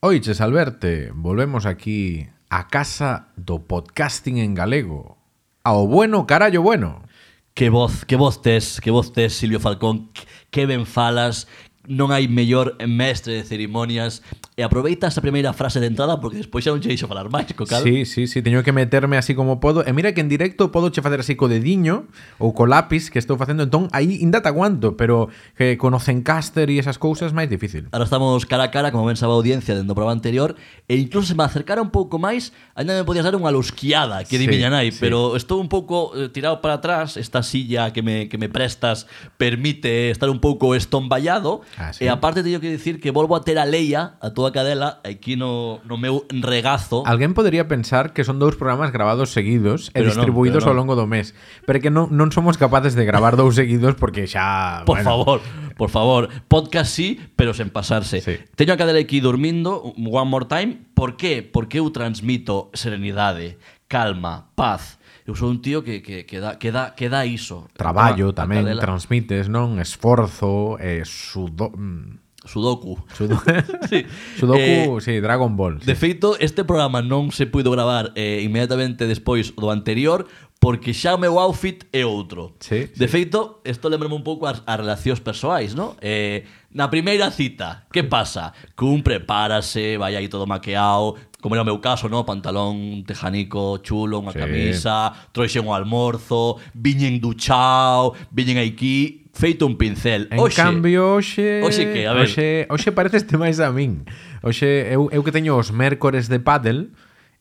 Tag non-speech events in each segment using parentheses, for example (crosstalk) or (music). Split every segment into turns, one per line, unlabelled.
Oiches, Alberte, volvemos aquí a casa do podcasting en galego. Ao bueno, carallo bueno.
Que voz, que voz tes, que voz tes, Silvio Falcón, que- que ben falas, non hai mellor mestre de ceremonias. E aproveita esa primeira frase de entrada porque despois xa non che deixo falar máis, co cal.
Sí, sí, sí, teño que meterme así como podo. E mira que en directo podo che facer así co dediño ou co lápiz que estou facendo, entón aí inda te aguanto, pero que conocen caster e esas cousas máis difícil.
Ahora estamos cara a cara, como ben sabe a audiencia dentro do programa anterior, e incluso se me acercara un pouco máis, ainda me podías dar unha lusquiada,
Sí,
que di miña nai,
sí.
pero estou un pouco eh, tirado para atrás, esta silla que me, que me prestas permite estar un pouco estomballado,
Ah, sí.
e aparte teño que dicir que volvo a ter a Leia, a toda cadela, aquí no, no meu regazo.
Alguén podería pensar que son dous programas grabados seguidos e
Pero non,
distribuídos
pero
ao
non.
longo do mes, pero que non, non somos capaces de gravar dous seguidos porque xa...
Ah, Por
bueno,
favor, por favor. Podcast sí, pero sen pasarse.
Sí.
Teño a cadela aquí dormindo, un- one more time. Por qué? Porque eu transmito serenidade, calma, paz. Eu sou un tío que, que, que, dá, que, dá, que dá iso.
Traballo
A- a
tamén,
cadela-
transmites, non? Esforzo, eh, sudo... mm,
Sudoku. (laughs)
sudo... (laughs)
sí. Eh,
Sudoku, sí, Dragon Ball.
De feito, este programa non se puido gravar eh, inmediatamente despois do anterior porque xa o meu outfit é outro.
Sí,
de feito, isto lembrame un pouco as, as relacións persoais, non? Eh, na primeira cita, que pasa? Cun prepárase, vai aí todo maqueado, como era o meu caso, non? Pantalón tejanico chulo, unha
Sí.
camisa, troixen o almorzo, viñen duchao, viñen aquí, feito un pincel.
En
Oxe,
cambio, hoxe...
Oxe que, a ver.
Hoxe, hoxe pareceste máis a min. Oxe, eu, eu que teño os mércores de pádel,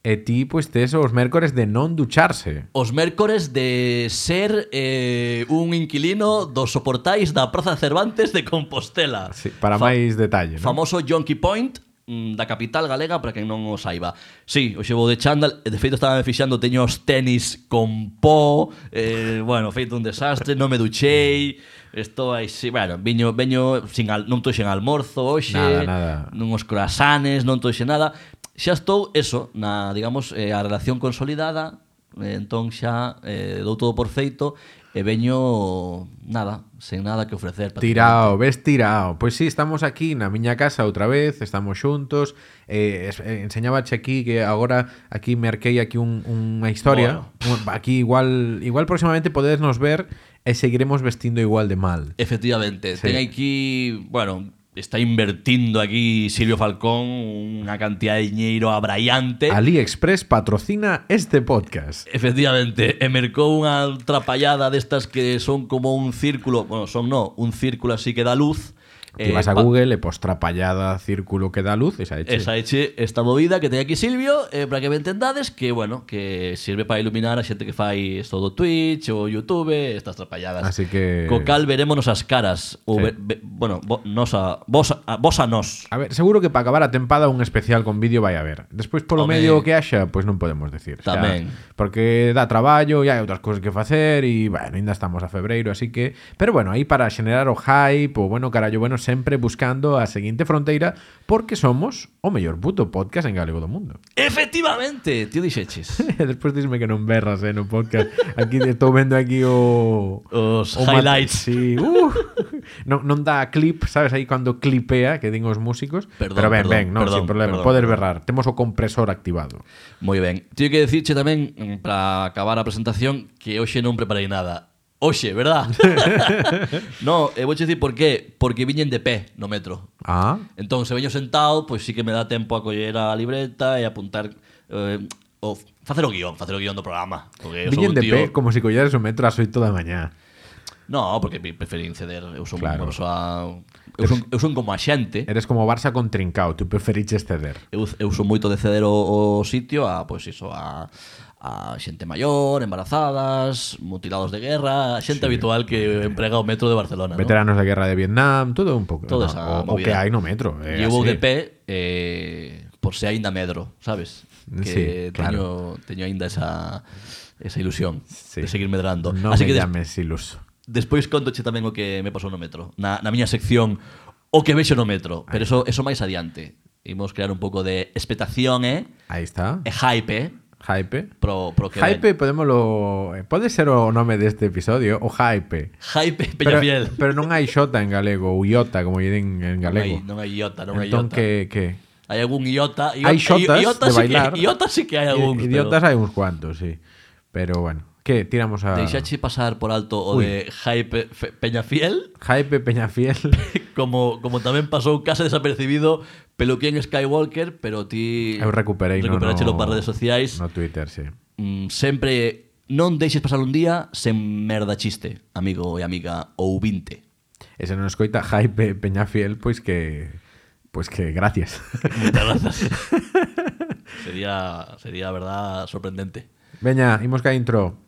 e ti, pois, tes os mércores de non ducharse.
Os mércores de ser eh, un inquilino dos soportais da Praza Cervantes de Compostela.
Sí, para
Fa-
máis detalle, non?
Famoso Jonky Point mm, da capital galega para quen non o saiba. Sí, o xevo de chándal, e de feito estaba me fixando, teño os tenis con pó, eh, bueno, feito un desastre, non me duchei, estou aí, sí, bueno, viño, veño, sin al, non toxen almorzo hoxe,
Nada, nada.
non os croasanes, non toxen nada. Xa estou, eso, na, digamos, eh, a relación consolidada, eh, entón xa eh, dou todo por feito, e veño, nada, sen nada que ofrecer.
Tirao, ves tirao. Pois sí, estamos aquí na miña casa outra vez, estamos xuntos. Eh, es- eh, enseñabache aquí que agora aquí me arquei aquí un, unha historia. Un- Aquí igual igual próximamente podedes nos ver e seguiremos vestindo igual de mal.
Efectivamente,
Sí.
ten aquí, bueno, está invertindo aquí Silvio Falcón unha cantidad de diñeiro abraiante.
AliExpress patrocina este podcast.
Efectivamente, e mercou unha trapallada destas que son como un círculo, bueno, son no, un círculo así que dá luz.
Ti vas a
Eh, pa-
Google e pos trapallada círculo que dá luz, esa eche.
Esa eche esta movida que ten aquí Silvio eh, Para que me entendades Que, bueno, que sirve para iluminar a xente que fai Esto do Twitch ou Youtube Estas trapalladas
Así que-
Co cal verémonos as caras ou
Sí.
ve, ve, Bueno, vo, nos a, vos, a, vos a nos
A ver, seguro que para acabar a tempada un especial con vídeo vai a haber. Despois polo
Home.
medio que haxa, pois non podemos decir. Xa,
Tamén.
porque dá traballo e hai outras cousas que facer e, bueno, ainda estamos a febreiro, así que... Pero bueno, aí para xenerar o hype, o bueno, carallo, bueno, sempre buscando a seguinte fronteira porque somos o mellor puto podcast en galego do mundo. (laughs)
Efectivamente, tío dixeches
Despois dixme que non berras, eh, no podcast. Aquí estou vendo aquí o...
Os
O mate-
highlights
Sí, uh. non, non dá clip, sabes, aí cando clipea que din os músicos.
Perdón,
Pero ben,
perdón,
ben, non,
perdón,
sin problema.
perdón,
Podes
perdón.
berrar. Temos o compresor activado.
Moi ben Tío que dicirche tamén mm, Para acabar a presentación Que hoxe non preparei nada Oxe, verdad? no, e vou dicir por qué Porque viñen de pé no metro
Ah,
Entón, se veño sentado, pois sí que me dá tempo a coller a libreta e apuntar eh, o facer o guión, facer o guión do programa, porque eu sou
viñen
un
de
tío.
pé como se colleres o metro ás 8 da mañá.
No, porque me preferín ceder, eu sou
Claro.
claro. unha persoa eu son, eu son como a xente.
Eres como o Barça con trincao, tú preferiches ceder.
Eu, eu son moito de ceder o, o sitio a, pois iso, a, a xente maior, embarazadas, mutilados de guerra, a xente sí. habitual que emprega o metro de Barcelona. ¿no?
Veteranos da guerra de Vietnam, todo un pouco.
Toda
no,
esa
o, o que
movida.
hai no metro. Eh,
Llevo
así.
de pé eh, por se aínda medro, sabes? Que
Sí, claro.
teño, teño aínda esa, esa ilusión
Sí.
de seguir medrando.
Non
Así
me
que des,
llames iluso.
despois contoche tamén o que me pasou no metro. Na, na miña sección o que vexo no metro. Pero eso, eso máis adiante. Imos crear un pouco de expectación eh,
Aí está.
e hype eh,
Hype.
pro, pro que
Hype,
ven.
podémoslo... eh, Pode ser o nome deste este episodio, o Hype.
Hype
pero,
Peñafiel.
pero non hai xota en galego, ou iota, como lle din en galego.
Non hai, non hai iota, non hai
entón,
iota.
que, que?
Hai algún iota. iota
Hai xotas
iota
de
sí
bailar.
Que, iota sí que hai algún.
Idiotas hai uns cuantos, sí. Pero bueno, que tiramos a
Deixache pasar por alto o
Ui.
de Hype Fe- Peñafiel, (laughs)
Jaipe Peñafiel.
como, como tamén pasou case desapercibido Peluquín Skywalker, pero ti
Eu recuperei no,
recuperachelo
no-
para redes sociais.
No Twitter, sí.
mm, sempre non deixes pasar un día sen merda chiste, amigo e amiga ou vinte.
E se non escoita Jaipe Peñafiel, pois que pois que gracias. (laughs)
Moitas grazas. sería, sería, a verdad, sorprendente.
Veña, imos ca intro.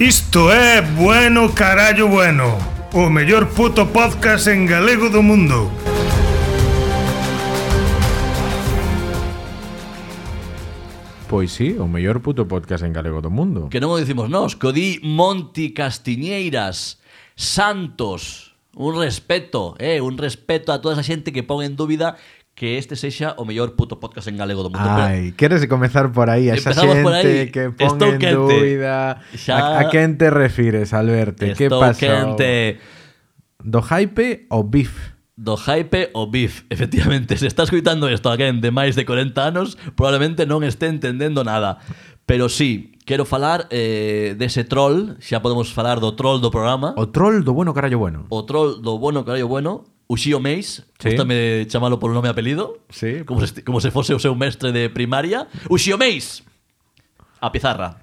Isto é Bueno Carallo Bueno, o mellor puto podcast en galego do mundo.
Pois sí, o mellor puto podcast en galego do mundo.
Que non o dicimos nós, que o di Monti Castiñeiras, Santos, un respeto, eh, un respeto a toda esa xente que pon en dúbida que este sexa o mellor puto podcast en galego do mundo. Pero-
Ai, queres comezar por aí, a esa
Empezamos
xente
por aí.
que pon
Estou
en
quente.
dúbida. A,
Xa-
a quen te refires, Alberto? Que
Estou
pasou?
quente.
Do hype o beef?
Do hype o beef, (laughs) efectivamente. Se está escuitando isto alguén de máis de 40 anos, probablemente non este entendendo nada. Pero sí, quero falar eh, dese troll, xa podemos falar do troll do programa, o,
O troll do bueno carallo bueno.
troll do bueno carallo bueno, Uxío Meis,
Sí.
sí. gustame chamalo polo nome e apelido,
Sí.
como, se, como se fose o seu mestre de primaria. Uxío Meis! A pizarra.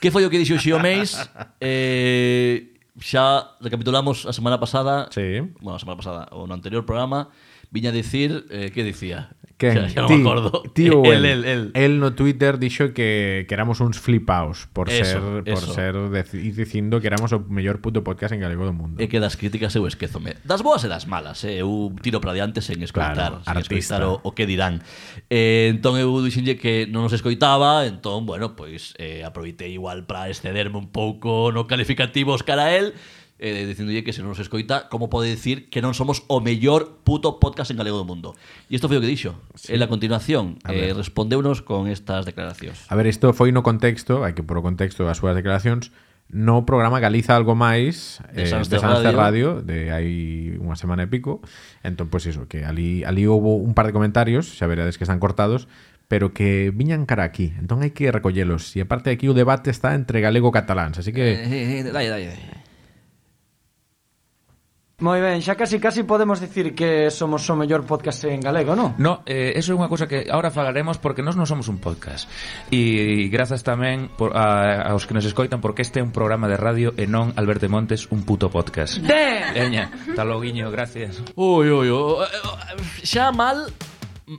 Que foi o que dixo Uxío
(laughs)
Meis? Eh, xa recapitulamos a semana pasada
Sí.
bueno, a semana pasada, o no anterior programa, viña a dicir, eh, que dicía? (laughs)
Quen?
Xa, xa non
Ti,
me acordo.
ti
(laughs)
ou
el,
el,
el, el.
El no Twitter dixo que, que éramos uns flipaos por
Eso,
ser por
eso.
ser deci- dicindo que éramos o mellor puto podcast en galego do mundo.
E que das críticas eu esquezome. Das boas e das malas, eh? eu tiro para diante sen escoitar,
Claro,
sen
artista.
escoitar o, o que dirán. Eh, entón eu dixenlle que non nos escoitaba, entón, bueno, pois eh, aproveitei igual para excederme un pouco no calificativos cara a él, eh, dicindolle que se non nos escoita, como pode dicir que non somos o mellor puto podcast en galego do mundo. E isto foi o que dixo. Sí. En la continuación,
A ver.
eh, respondeunos con estas declaracións.
A ver, isto foi no contexto, hai que pôr o contexto das súas declaracións, no programa Galiza algo máis eh,
De Sanster
de Sanster
Radio.
Radio, de hai unha semana e pico. Entón, pois iso, que ali ali houbo un par de comentarios, xa verades que están cortados, pero que viñan cara aquí. Entón hai que recollelos. E aparte aquí o debate está entre galego e catalán, así que
Eh, eh, dai, dai, dai.
Moi ben, xa casi casi podemos dicir que somos o mellor podcast en galego, non?
No, eh, eso é unha cousa que agora falaremos porque nós non somos un podcast. E grazas tamén por, a, aos que nos escoitan porque este é un programa de radio e non Alberto Montes un puto podcast. Eña, tal guiño, gracias.
Ui, ui, ui. Xa mal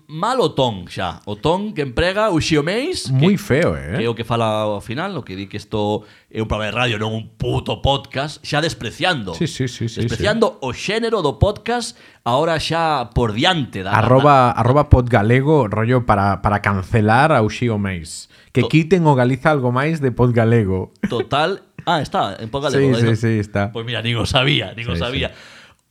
mal o ton xa. O ton que emprega o Xiomeis
moi
que,
feo, eh?
que é o que fala ao final, o que di que isto é un programa de radio, non un puto podcast, xa despreciando.
Sí, sí, sí, sí,
despreciando o xénero do podcast ahora xa por diante da
Arroba, arroba podgalego, rollo para, para cancelar a Uxío Meis. Que
To-
quiten o Galiza algo máis de podgalego.
total. Ah, está, en poca
Sí, sí, sí, está.
Pois Pues mira, nin o sabía, nin o
Pues Sí,
sabía.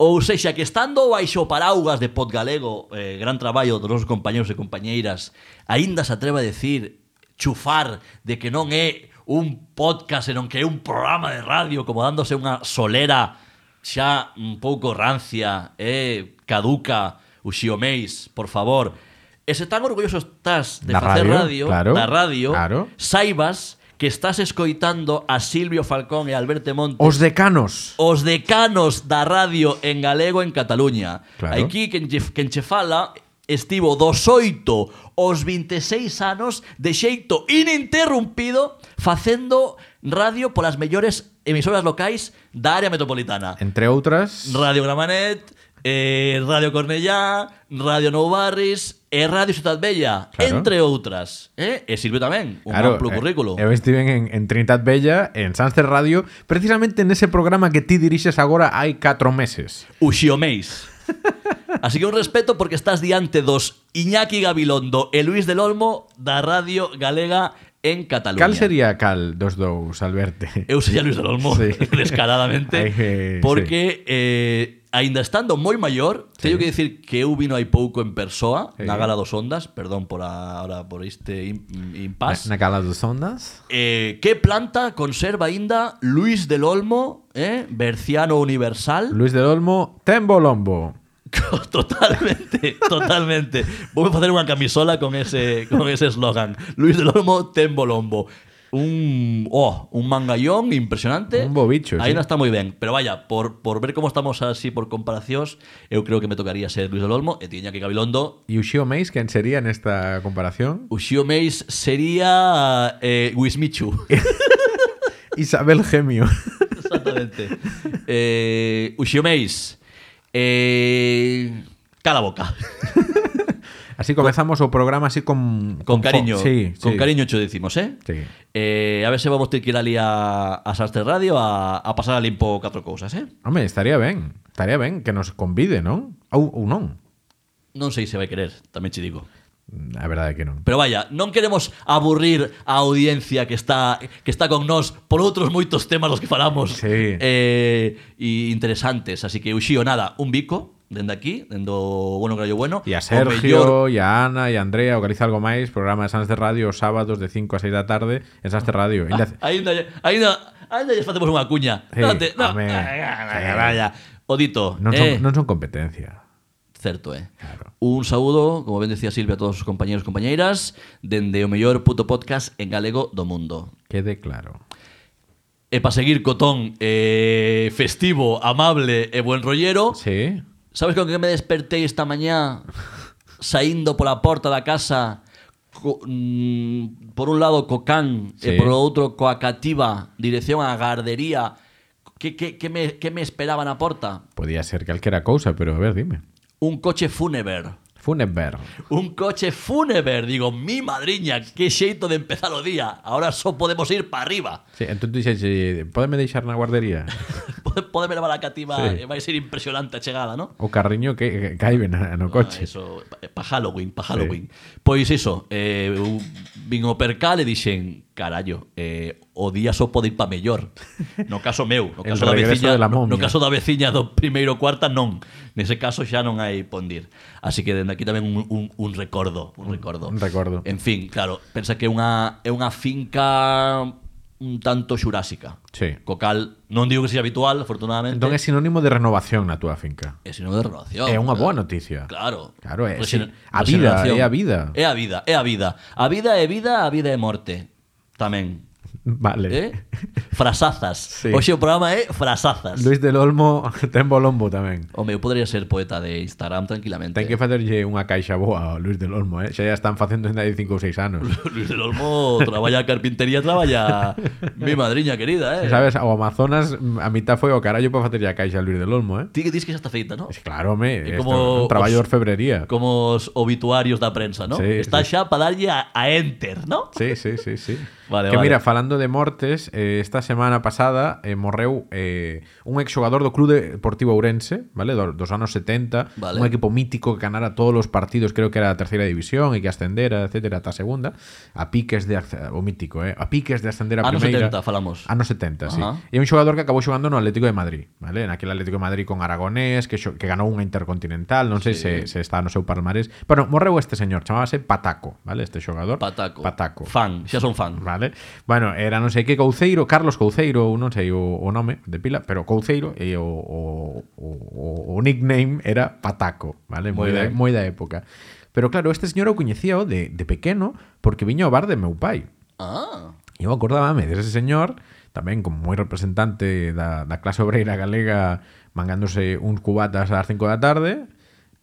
Ou sexa, que estando baixo o paraugas de Podgalego, eh, gran traballo dos nosos compañeros e compañeiras, aínda se atreve a decir, chufar, de que non é un podcast, senón que é un programa de radio, como dándose unha solera xa un pouco rancia, eh, caduca, uxiomeis, por favor. E se tan orgulloso estás de
Da
facer
radio,
radio,
claro,
da radio,
claro.
saibas que estás escoitando a Silvio Falcón e a Alberto Montes
Os decanos.
os decanos da radio en galego en Cataluña.
Claro.
Aquí quen che, quen che fala estivo dos 8 aos 26 anos de xeito ininterrumpido facendo radio polas mellores emisoras locais da área metropolitana.
Entre outras...
Radio Gramanet, eh, Radio Cornellá, Radio Nou Barris e Radio Ciudad Bella,
Claro.
entre outras. Eh? E sirve tamén un amplo
eh,
currículo.
Eu estiven en, en Trinidad Bella, en Sanster Radio, precisamente nese programa que ti dirixes agora hai 4 meses.
Uxiomeis. Así que un respeto porque estás diante dos Iñaki Gabilondo e Luis del Olmo da Radio Galega en Cataluña.
Cal sería cal dos dous, Alberte?
Eu sería Luis del Olmo,
Sí.
(laughs) descaradamente,
Ai, eh,
porque eh, aínda estando moi maior, teño que dicir que eu vino hai pouco en persoa,
Sí.
na Gala dos Ondas, perdón por a, ahora por este im- impasse.
Na cala dos ondas?
Eh, que planta conserva aínda Luis del Olmo, eh, Berciano Universal?
Luis del Olmo, ten bolombo.
(laughs) Totalmente, totalmente. Vou facer unha camisola con ese con ese eslogan. Luis del Olmo ten bolombo. Un, oh, un mangallón impresionante.
Un bo bicho, sí.
Aí non está moi ben, pero vaya, por, por ver como estamos así por comparacións, eu creo que me tocaría ser Luis del Olmo e tiña que Gabilondo.
E o Xio Meis, quen sería nesta comparación?
Uxío Meis sería eh, Wismichu.
Isabel Gemio.
(laughs) Exactamente. Eh, Uxío Meis. Eh, cala boca.
Así comezamos o programa así con...
Con
fo-
cariño.
Sí,
con
sí.
cariño cho decimos, eh?
Sí.
Eh, a ver se vamos ter que ir ali a, a Sastre Radio a, a pasar a limpo catro cousas, eh?
Home, estaría ben. Estaría ben que nos convide, non? Ou, ou non.
Non sei se vai querer, tamén che digo.
A verdade é que non.
Pero vaya, non queremos aburrir a audiencia que está que está con nós por outros moitos temas dos que falamos
Sí.
eh, e interesantes. Así que, Uxío, nada, un bico dende aquí, dendo Bueno Grallo Bueno.
E a
O mellor-
Sergio, e a Ana, e a Andrea, organiza algo máis, programa de Sans de Radio os sábados de 5 a 6 da tarde en Sans de Radio. Ainda ce-
Ainda, ainda, ainda lles facemos unha cuña.
Sí,
non, te, non.
home.
Vaya, vaya. Odito,
non, son,
eh,
non son competencia.
Certo, eh.
Claro.
Un saúdo, como ben decía Silvia, a todos os compañeros e compañeiras dende o mellor puto podcast en galego do mundo.
Quede claro.
E para seguir cotón eh, festivo, amable e buen rollero,
Sí.
sabes con que me despertei esta mañá saindo pola porta da casa co, mm, por un lado co can
Sí.
e por outro coa cativa dirección á gardería que, que, que, me, que me esperaba na porta?
Podía ser calquera cousa, pero a ver, dime.
Un coche fúnebre.
Funeber.
Un coche fúnebre, digo, mi madriña, que xeito de empezar o día. Ahora só podemos ir para arriba. (laughs)
Sí, entón dixes, eh, podeme deixar na guardería?
Pode- Podeme levar a cativa,
Sí.
sí. vai ser impresionante a chegada, ¿no?
O carriño que, que caibe na, no
Ah,
coche.
Eso, pa Halloween, pa Halloween. Pois iso, eh, eu vin o percal e dixen, carallo, eh, o día só pode ir pa mellor. No caso meu, no
(laughs) El
caso da
regreso
veciña,
de la
no,
momia.
no caso da veciña do primeiro cuarta non. Nese caso xa non hai pondir. Así que dende aquí tamén un, un, un recordo, un recordo.
un recordo.
En fin, claro, pensa que é unha é unha finca un tanto xurásica.
Sí.
Co cal, non digo que sea habitual, afortunadamente. e
Entón é sinónimo de renovación na túa finca.
É sinónimo de renovación.
É unha
claro.
boa noticia.
Claro.
Claro, é,
Regener-
sí. A vida,
regeneración.
é a vida.
É Eh, a vida, é a vida. A vida é vida, a vida é morte. Tamén.
Vale.
Eh? Frasazas.
Sí.
Hoxe o programa é frasazas.
Luis del Olmo (laughs) ten bolombo tamén.
Home, eu podría ser poeta de Instagram tranquilamente.
Ten que facerlle unha caixa boa ao Luis del Olmo, eh? Xa ya están facendo ainda de 5 ou 6 anos.
(laughs) Luis del Olmo traballa a carpintería,
(laughs)
traballa mi madriña querida, eh.
Sabes, ao Amazonas a mitad foi ao carallo para facerlle a caixa a Luis del Olmo, eh?
Ti que dis que xa está feita, ¿no?
Es claro, me, é
É E como
un traballo
os-
de orfebrería.
Como os obituarios da prensa, ¿no?
Sí,
está
sí.
xa para darlle a, a enter, ¿no?
Sí, sí, sí, sí.
Vale,
que
vale.
mira, falando de mortes, eh, esta semana pasada eh, morreu eh, un exxogador do Club Deportivo Ourense, vale, do, dos anos 70,
Vale.
un equipo mítico que ganara todos os partidos, creo que era a terceira división e que ascendera, etcétera, ata a segunda, a piques de acce- o mítico, eh, a piques de ascender a
Anos
primeira.
70 falamos.
Anos 70, sí.
Ajá.
E un xogador que acabou xogando no Atlético de Madrid, vale? Naquel Atlético de Madrid con Aragonés, que, xo- que ganou unha Intercontinental, non sei
Sí.
se, se está no seu palmarés. Pero morreu este señor, chamábase Pataco, vale? Este xogador.
Pataco.
Pataco.
Fan, xa son fan.
Vale? Bueno, era non sei que Couceiro, Carlos Couceiro, ou non sei o, o nome de pila, pero Couceiro e o, o, o, o nickname era Pataco, vale? Moi,
Moi
da,
ben.
moi da época. Pero claro, este señor o coñecíao de, de pequeno porque viño ao bar de meu pai.
Ah.
E eu acordábame dese señor, tamén como moi representante da, da clase obreira galega, mangándose uns cubatas ás 5 da tarde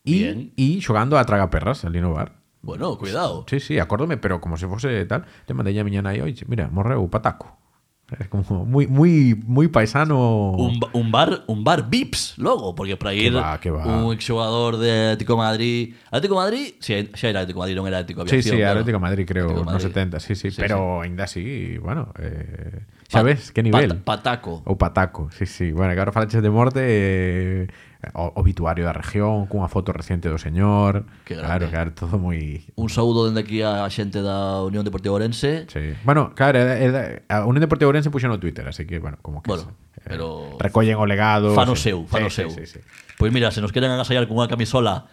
Bien.
e, e xogando a tragaperras ali no bar.
Bueno, cuidado.
Sí, sí, acórdome, pero como se fose tal, te mandei a miña nai, oye, mira, morreu o pataco. É como moi moi moi paisano.
Un, ba- un bar un bar VIPs logo, porque para ir
va, que va.
un exjugador de Atlético de Madrid, Atlético de Madrid, si xa era Atlético de Madrid, non era Atlético de
Sí,
Aviación.
sí,
claro.
Atlético de Madrid creo,
Atlético de
nos
Madrid.
70, sí, sí,
Sí,
pero ainda así, bueno, eh,
Pa-
xa ves, que nivel.
Pat- pataco.
O pataco, sí, sí. Bueno, que agora falaches de morte eh, o- obituario da región, cunha foto reciente do señor.
Que grande.
Claro, claro, todo moi
Un saúdo dende aquí a xente da Unión Deportiva Orense.
Sí. Bueno, claro, é- é da- a Unión Deportiva Ourense puxo no Twitter, así que, bueno, como que
Bueno,
se-
pero-
recollen o legado.
Fano
sí.
seu,
Sí,
fano
sí,
seu.
sí, sí.
Pois mira, se nos queren agasallar con unha camisola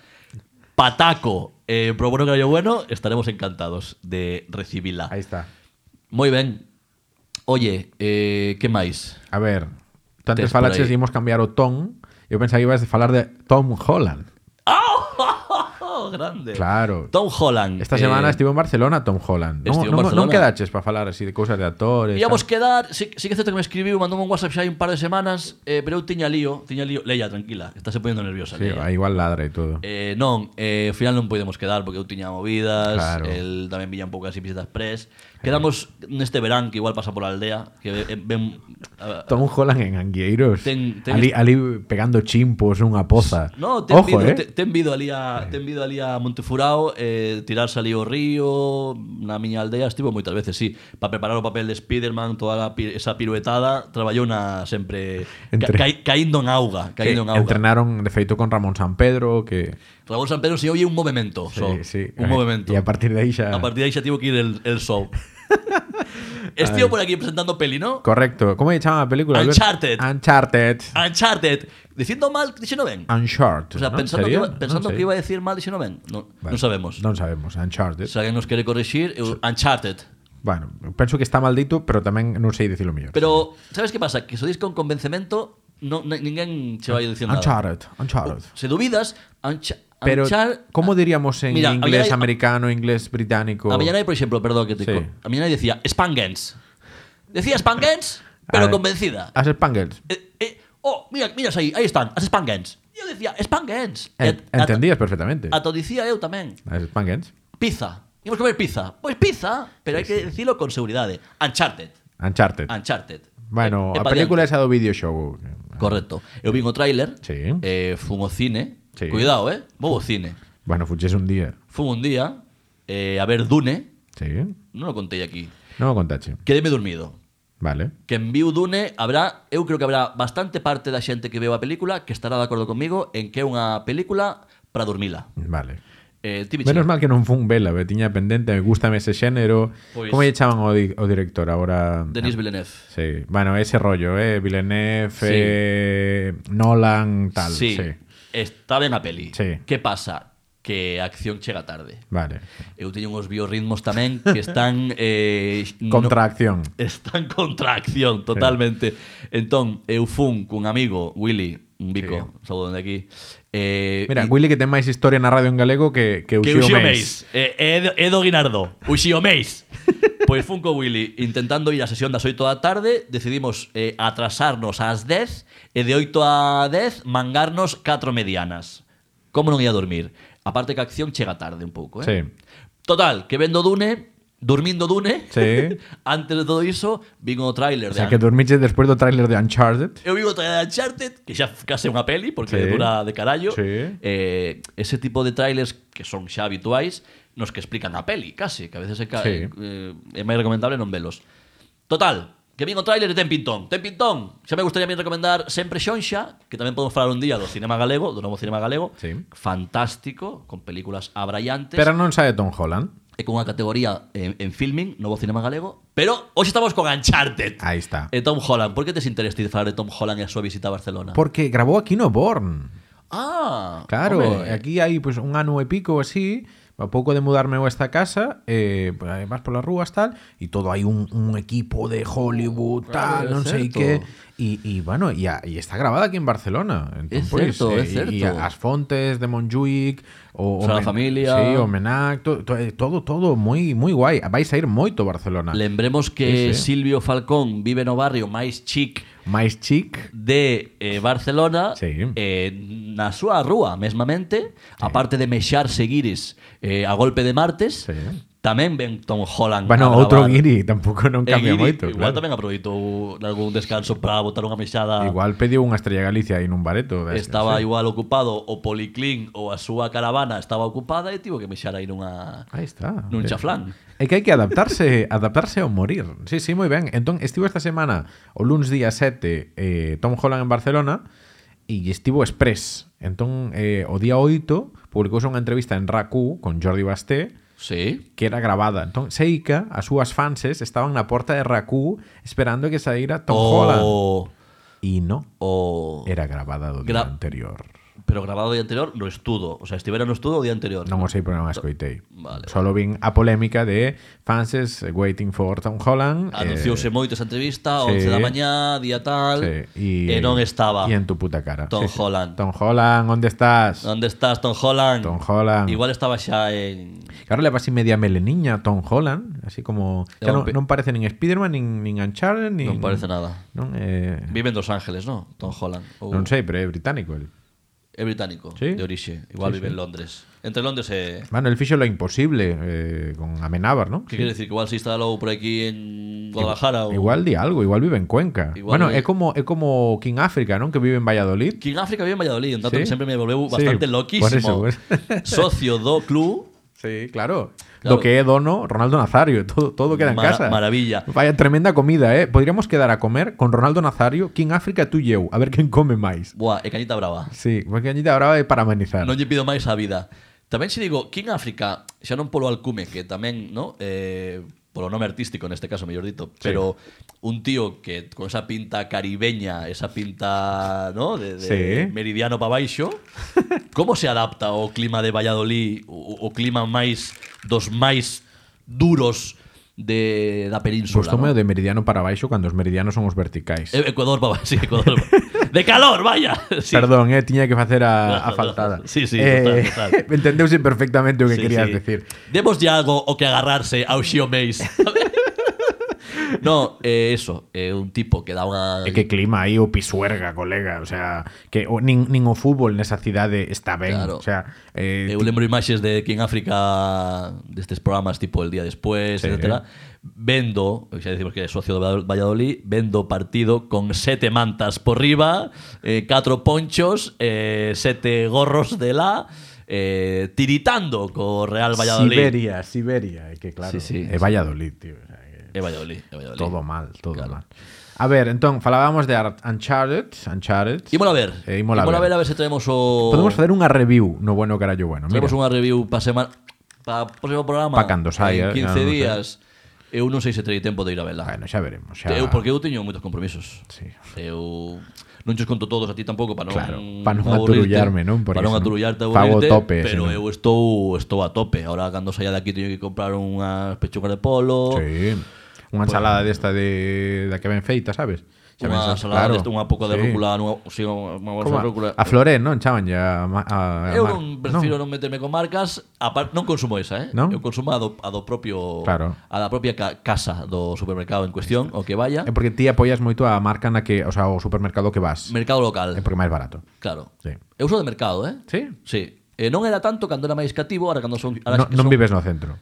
pataco, eh, pro bueno que bueno, estaremos encantados de recibila.
Ahí está.
Moi ben. Oye, eh, que máis?
A ver, tú
Tes
antes
por
falaches
aí.
íbamos cambiar o ton. Eu pensaba que ibas a falar de Tom Holland.
Oh, grande.
Claro.
Tom Holland.
Esta
eh,
semana estivo en Barcelona Tom Holland. Non,
estivo en
non, non
Barcelona.
quedaches para falar así de cousas de actores.
Íamos
tal.
quedar, sí, sí que é certo que me escribiu, mandou un WhatsApp xa hai un par de semanas, eh, pero eu tiña lío, tiña lío. Leia, tranquila, estás se ponendo nerviosa.
Sí,
Leia.
aí igual ladra e todo.
Eh, non, eh, ao final non podemos quedar porque eu tiña movidas,
Claro.
el tamén viña un pouco así visitas press. Quedamos neste verán que igual pasa por a aldea, que eh, ven a-
Tom Holland en Anguieiros.
Ten- ten-
ali, ali pegando chimpos nunha poza.
No, ten
Ojo,
vido,
eh.
te- ten vido ali a ten vido ali a Montefurao eh, tirarse ali ao río, na miña aldea estivo moitas veces, sí, para preparar o papel de Spiderman, toda a pi- esa piruetada, traballou na sempre ca,
Entre-
cai- caíndo en auga,
Que
caíndo en auga.
entrenaron de feito con Ramón San Pedro que
Ramón San Pedro se oye un movimento, só,
Sí, sí.
un movimento.
E a partir de aí xa
A partir de aí xa tivo que ir el, el
(laughs)
show. Estivo por aquí presentando peli, ¿no?
Correcto. Como lle chaman a película? Albert?
Uncharted.
Uncharted.
Uncharted. Diciendo mal, dice no ven.
Uncharted.
O sea,
Ah, ¿no?
pensando, que
Sería?
iba, pensando
Non sei.
que iba a decir mal, dice no ven. No,
Vale.
no sabemos.
Non sabemos. Uncharted.
Si alguien nos quiere corregir, eu- Uncharted.
Bueno, penso que está maldito, pero tamén non sei dicilo mellor.
Pero, ¿sabes qué pasa? Que sois con convencemento, no, no- ninguén che vai a decir nada.
Uncharted. Uncharted.
Se dubidas, Uncha-
Pero,
Unchar-
como diríamos en
Ah, Mira, a
inglés
miña nai-
americano, inglés británico?
A miña nai, por exemplo, perdón que te
Sí.
co- A miña nai decía Spangans. Decía Spangans, pero
A-
convencida.
As Spangles.
Eh, eh, oh, mira, mira aí, aí están, as Spangans. E Eu decía, Spangans. E
En-
ata-
Entendías perfectamente.
Ata o dicía eu tamén.
As Spangles.
Pizza. Imos comer pizza. Pois pizza, pero hai que dicilo con seguridade. Uncharted.
Uncharted.
Uncharted.
Bueno,
E- e
a
pa
película esa
diante.
do videoxogo.
Correcto. Eu vin o tráiler.
Sí.
Eh, fun ao cine.
Sí.
Cuidado, eh. Vou ao cine.
Bueno, fuches un día.
Fun un día eh, a ver Dune.
Sí.
Non o contei aquí.
Non o contache.
Quedeme dormido.
Vale.
Que en viu Dune habrá, eu creo que habrá bastante parte da xente que veu a película que estará de acordo comigo en que é unha película para dormila.
Vale.
Eh, ti, Michel,
Menos mal que non fun vela, be, tiña pendente, me gustame ese xénero.
Pois-
Como lle chaman o, di- o director agora?
Denis
Ah,
Villeneuve.
Sí, bueno, ese rollo, eh, Villeneuve,
Sí.
eh, Nolan, tal, sí.
sí, Está ben a peli.
Sí.
Que pasa? Que a acción chega tarde.
Vale.
Eu teño uns biorritmos tamén que están... Eh, no-
Contracción.
están contra a acción, totalmente. Entón, eu fun cun amigo, Willy, un bico, sí. saúdo de aquí. Eh,
Mira,
e-
Willy que ten máis historia na radio en galego que que
que
Uxío
Uxío
Meis.
Meis. Eh, é do- é do Guinardo.
(laughs)
Uxío Meis. Pois fun co Willy intentando ir á sesión das 8 da tarde, decidimos eh, atrasarnos ás 10 e de 8 a 10 mangarnos 4 medianas. Como non ia dormir? A parte que a acción chega tarde un pouco, eh?
Sí.
Total, que vendo Dune, dormindo Dune,
Sí.
(laughs) antes de todo iso, vin o tráiler
O
de
sea, que dormiche despois do tráiler de Uncharted.
Eu vivo traer Uncharted, que xa case unha peli, porque
Sí.
dura de carallo.
Sí.
Eh, ese tipo de trailers que son xa habituais, nos que explican a peli, case, que a veces é, ca-
Sí.
eh, é máis recomendable non velos. Total, que vin o tráiler de Ten Pintón. Ten Pintón, xa me gustaría a min recomendar sempre Xonxa, que tamén podemos falar un día do cinema galego, do novo cinema galego.
Sí.
Fantástico, con películas abraiantes.
Pero non sabe Tom Holland.
É con unha categoría en, en filming, novo cinema galego. Pero hoxe estamos con Uncharted.
Aí está.
E Eh, Tom Holland, por que tes interés ti de falar de Tom Holland e a súa visita a Barcelona?
Porque grabou aquí no Born.
Ah,
Claro, eh,
home.
aquí hai pois, un ano e pico así, a pouco de mudarme eu a esta casa, eh, pois, aí vas polas rúas tal, e todo hai un, un equipo de Hollywood, tal,
claro, é
non sei
certo.
que, e, e bueno, e, a, e está grabada aquí en Barcelona. Entón,
É
pois,
certo, é
eh, e- E
certo.
as fontes de Montjuic, o,
Sagrada
Men-
Familia.
Sí, o Menac, to, to, eh, todo, todo moi moi guai. Vais a ir moito a Barcelona.
Lembremos que
Sí, sí.
Silvio Falcón vive no barrio máis chic
Máis chic,
de eh, Barcelona
Sí.
eh, na súa rúa mesmamente aparte de mexar seguires eh, a golpe de martes
Sí.
tamén ven Tom Holland
bueno,
a
outro
gravar.
guiri, tampouco non
E
cambia
guiri,
moito.
igual
claro.
tamén aproveitou algún descanso para botar unha mexada
Igual pediu unha estrella Galicia aí nun bareto. ves,
estaba
sí.
igual ocupado o Policlín ou a súa caravana estaba ocupada e tivo que mexar aí nunha
Aí está.
nun
Eh,
chaflán.
É que hai que adaptarse, (laughs) adaptarse ao morir. Sí, sí, moi ben. Entón, estivo esta semana, o luns día 7, eh, Tom Holland en Barcelona, e estivo express. Entón, eh, o día 8 publicouse unha entrevista en RACU con Jordi Basté
Sí.
que era grabada. Entón, Seika, as súas fanses, estaban na porta de RACU esperando que saíra Tom
Oh.
Holland. Eh.
O,
E non,
o...
era grabada do día
Gra-
anterior.
Pero grabado o día anterior no estudo. O sea, estivera no estudo o día anterior.
Non o sei, pero non a escoitei.
Vale.
Solo vin a polémica de fanses eh, waiting for Tom Holland. eh,
Anunciouse moito esa entrevista,
sí.
11 da mañá, día tal,
Sí, e,
e non estaba.
E en tu puta cara.
Tom Holland.
Tom Holland, onde estás?
Onde estás, Tom Holland?
Tom Holland.
Igual estaba xa en...
Claro, leva así media meleniña a Tom Holland, así como... Xa
É
non,
un pe-
non parece nin Spiderman, nin, nin Uncharted, nin...
Non parece nada.
Non, eh,
Vive en Los Ángeles, ¿no? Tom Holland. Ou-
non sei, pero é británico el.
É británico,
Sí.
de orixe. Igual vive en Londres. Entre Londres e...
Bueno, el fixo lo imposible eh, con Amenábar, ¿no?
Que quere decir? Que igual se instalou por aquí en Guadalajara ou...
Igual di algo, igual vive en Cuenca.
Igual
bueno, é
vive-
como é como King África, non? Que vive en Valladolid.
Que en África vive en Valladolid, un dato
Sí.
que sempre me volveu
Sí,
bastante
por
loquísimo.
eso, por-
(laughs) Socio do club,
Sí, claro.
Claro.
Lo que é dono Ronaldo Nazario, todo todo queda en
Mara-
casa.
maravilla.
Vaya tremenda comida, eh. Podríamos quedar a comer con Ronaldo Nazario, King África tú e eu, a ver quen come máis.
buah, e Cañita Brava.
Sí, porque allí ahora é para amenizar.
Non lle pido máis a vida. Tamén se digo, que en África, xa non polo alcume, que tamén, no? Eh, polo nome artístico, neste caso, mellor dito, pero un tío que con esa pinta caribeña, esa pinta, no? De, de
Sí.
meridiano para
(laughs)
baixo, como se adapta ao clima de Valladolid, o, o clima máis dos máis duros de, da península?
Postome
no?
o Pues de meridiano para baixo cando os meridianos son os verticais.
Eh, Ecuador para baixo, sí,
(laughs)
Ecuador. de calor, vaya. Sí.
Perdón, eh, tiña que facer a, a faltada.
Sí, sí,
eh,
total, total.
(laughs) Entendeuse perfectamente o que
Sí,
querías
sí.
decir.
Demos ya algo o que agarrarse ao Xio Meis.
(laughs)
no, eh, eso, eh, un tipo que dá unha
E que clima aí o pisuerga, colega, o sea, que o, nin, nin o fútbol nesa cidade está ben,
Claro.
o sea, eh,
Eu lembro imaxes de que en África destes programas tipo El Día Después,
Sí.
etcétera, vendo, xa decimos que é socio do Valladolid, vendo partido con sete mantas por riba, eh, catro ponchos, eh, sete gorros de la, eh, tiritando co Real Valladolid.
Siberia, Siberia, é eh, que claro,
Sí, sí.
é Valladolid, tío, o sea, que
E Valladolid, e Valladolid.
todo mal, todo
Claro.
mal. A ver, entón, falábamos de Ar- Uncharted, Uncharted.
Ímola a ver.
Eh, ímola
Ímola
a ver.
a ver se traemos o...
Podemos facer unha review no bueno carallo bueno. Mira,
Traemos unha review para semana para próximo programa.
Pa cando saia, ya
En 15
non sei.
días. Eu non sei se terei tempo de ir a vela.
bueno, xa veremos, xa.
Eu porque eu teño moitos compromisos.
Sí.
Eu non chos conto todos a ti tampouco para non
Claro, pa non
aburrirte,
aturullarme, non? Porque
Para non
senón
aturullarte,
fago
aburrirte,
tope,
pero
senón.
eu estou estou a tope. Ahora cando saia de aquí teño que comprar unhas pechugas de polo,
Sí. Unha ensalada desta de da que ben feita, sabes? Xa
unha
pensas,
salada,
claro,
deste, unha pouco
sí.
de rúcula, unha, sí, unha unha bolsa
Como
de rúcula.
a, a Floré, non? Chaman a, ma- a, a
Eu
mar-
non prefiro non, meterme con marcas, aparte non consumo esa, eh?
Non?
Eu consumo a do, a do propio
Claro.
a da propia ca- casa do supermercado en cuestión, o que vaya,
É porque ti apoias moito a marca na que, o sea, o supermercado que vas.
mercado local.
É porque é máis barato.
Claro.
em- Sí.
Eu uso de mercado, eh?
Sí?
Sí. Eh, non era tanto cando era máis cativo, ahora cando son ahora
No,
que
non
son-
vives no centro.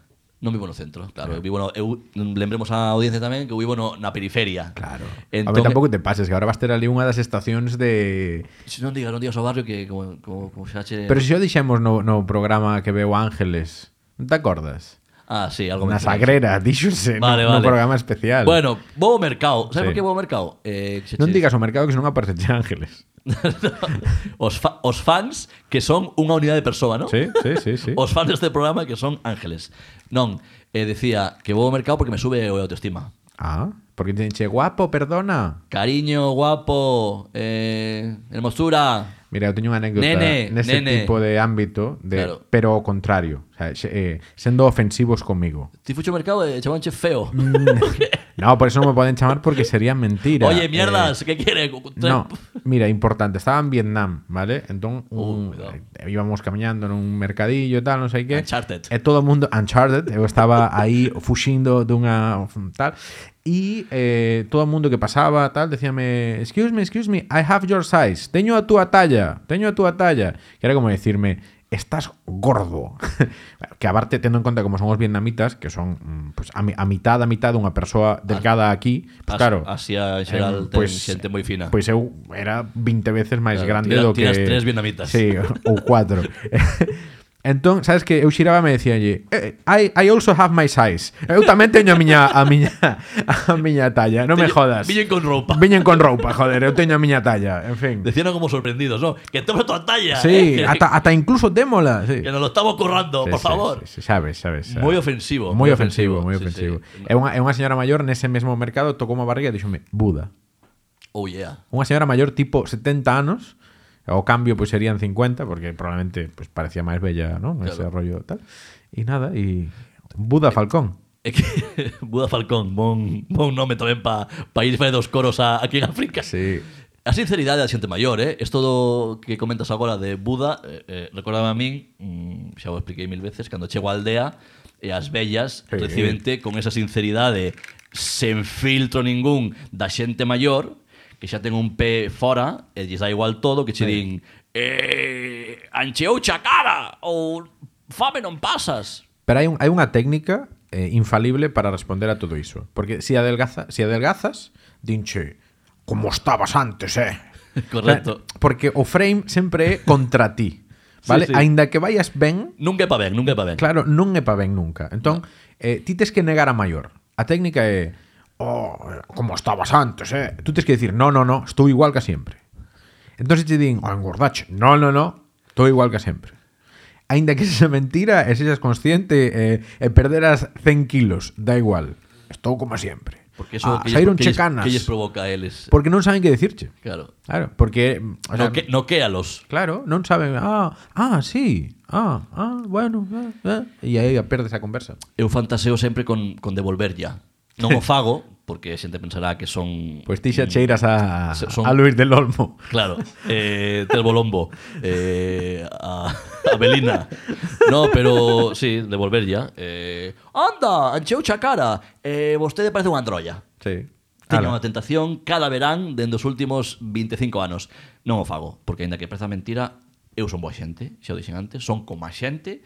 Non vivo no centro, claro. Eu vivo no, eu lembremos a audiencia tamén que eu vivo no, na periferia.
Claro. a ver,
Entón,
tampouco te pases, que ahora vas ter ali unha das estacións de...
Se non digas, non digas ao barrio que como, como, como xa che...
Pero se xo dixemos no, no programa que veo Ángeles, non te acordas?
ah, sí, algo
Na (laughs)
mencionaste.
Sagrera, díxose,
Vale,
no, no
vale.
programa especial.
Bueno, vou ao mercado. Sabes
Sí.
por que vou ao mercado? Eh, que xa
non
che-
digas o mercado que senón aparece Che Ángeles.
(laughs) os, fa- os fans que son unha unidade de persoa, non?
Sí, sí, sí, sí.
Os fans deste programa que son ángeles. Non, eh, decía que vou ao mercado porque me sube a autoestima.
Ah, porque te che guapo, perdona.
Cariño, guapo, eh, hermosura.
Mira, eu teño unha anécdota
Nene,
nese
nene.
tipo de ámbito, de,
Claro.
pero ao contrario, o sea, xe- eh, sendo ofensivos comigo.
Ti fucho ao mercado e chamanche feo.
No, por eso non me poden chamar porque sería mentira.
Oye,
mierdas
mierdas, que quere?
eh, No,
(laughs)
entón- mira, importante, estaba en Vietnam, ¿vale? Entón, un-
Uh, cuidado.
eh, íbamos caminhando nun mercadillo e tal, non sei que.
Uncharted.
E todo o mundo, Uncharted, eu estaba
(laughs)
aí fuxindo dunha tal, e eh, todo o mundo que pasaba tal, decíame, excuse me, excuse me, I have your size, teño a túa talla, teño a túa talla. Que era como decirme, estás gordo. (laughs) que aparte, tendo en conta como son os vietnamitas, que son mm, pues, a, mi- a mitad, a mitad dunha persoa delgada aquí, pues, claro. pues,
Asia en xeral
Em,
ten xente moi fina.
Pois eu era 20 veces máis
Claro,
grande
tira-
do que
tiras tres vietnamitas.
Sí, ou cuatro. (laughs) Entón, sabes que eu xiraba e me decíanlle eh, I, I also have my size. Eu tamén teño a miña, a miña, a miña talla, non me jodas.
Viñen con roupa.
Viñen con roupa, joder, eu teño a miña talla, en fin.
Decían como sorprendidos, ¿no? Que tenemos tu talla.
Sí,
¿eh? Que-
(laughs) ata, ata incluso témola, sí.
Que nos lo estamos currando,
Sí,
por
sí,
favor.
sí, sí, sabes, sabes, sabes.
Moi ofensivo,
Moi
moi
ofensivo, moi
ofensivo, sí,
ofensivo. É
sí.
unha, é unha señora maior nese mesmo mercado tocou unha barriga e dixome Buda.
Oh, yeah.
Unha señora maior tipo 70 anos, ao cambio pois serían 50 porque probablemente pois parecía máis bella, non? Ese rollo tal. E nada, e Buda Falcón.
É que (laughs) Buda Falcón, bon, bon nome tamén para pa ir para dos coros a, aquí en África.
Sí.
A sinceridade da xente maior, eh? Esto do que comentas agora de Buda, eh, eh, recordaba a min, mm, xa o expliquei mil veces, cando chego á aldea e as vellas
Sí.
sí. recibente con esa sinceridade sen filtro ningún da xente maior, que xa ten un pé fora e lles dá igual todo, que che din eh, ancheoucha a cara ou fame non pasas. (laughs)
Pero hai, un, hai unha técnica eh, infalible para responder a todo iso. Porque si, adelgaza, si adelgazas, dinche, como estabas antes, eh?
Correcto.
Porque o frame sempre é contra ti. Vale? Sí,
Sí, sí.
sí. Ainda que vayas ben,
Nunca é pa ben, nunca é pa ben.
claro, non é pa ben nunca. Entón, eh, ti tes que negar a maior. A técnica é, oh, como estabas antes, eh? Tú tes que dicir, no, no, no, estou igual que sempre. Entón, se te din, oh, engordache, no, no, no, estou igual que sempre. Ainda que sexa mentira, e sexas consciente, eh, e perderas 100 kilos, da igual. Estou como sempre.
Porque eso
Ah,
que,
saíron
lles, que, lles,
checanas.
que lles provoca a eles.
Porque non saben que decirche.
Claro.
Claro, porque... mm, o sea,
No, que, noquéalos.
Claro, non saben, ah, ah, sí, ah, ah, bueno, ah, ah. e aí perdes a conversa.
Eu fantaseo sempre con, con devolver ya.
(laughs)
Non o fago, porque a xente pensará que son...
Pois Pues ti xa cheiras a,
Se- son-
a Luis del Olmo.
Claro, eh, Tel Bolombo, eh, a, a Belina. No, pero sí, devolver ya. Eh, anda, ancheucha cara, eh, vostede parece unha androlla.
Sí.
Teño
Ala.
unha tentación cada verán dende os últimos 25 anos. Non o fago, porque aínda que pareza mentira, eu son boa xente, xa o dixen antes, son como a xente,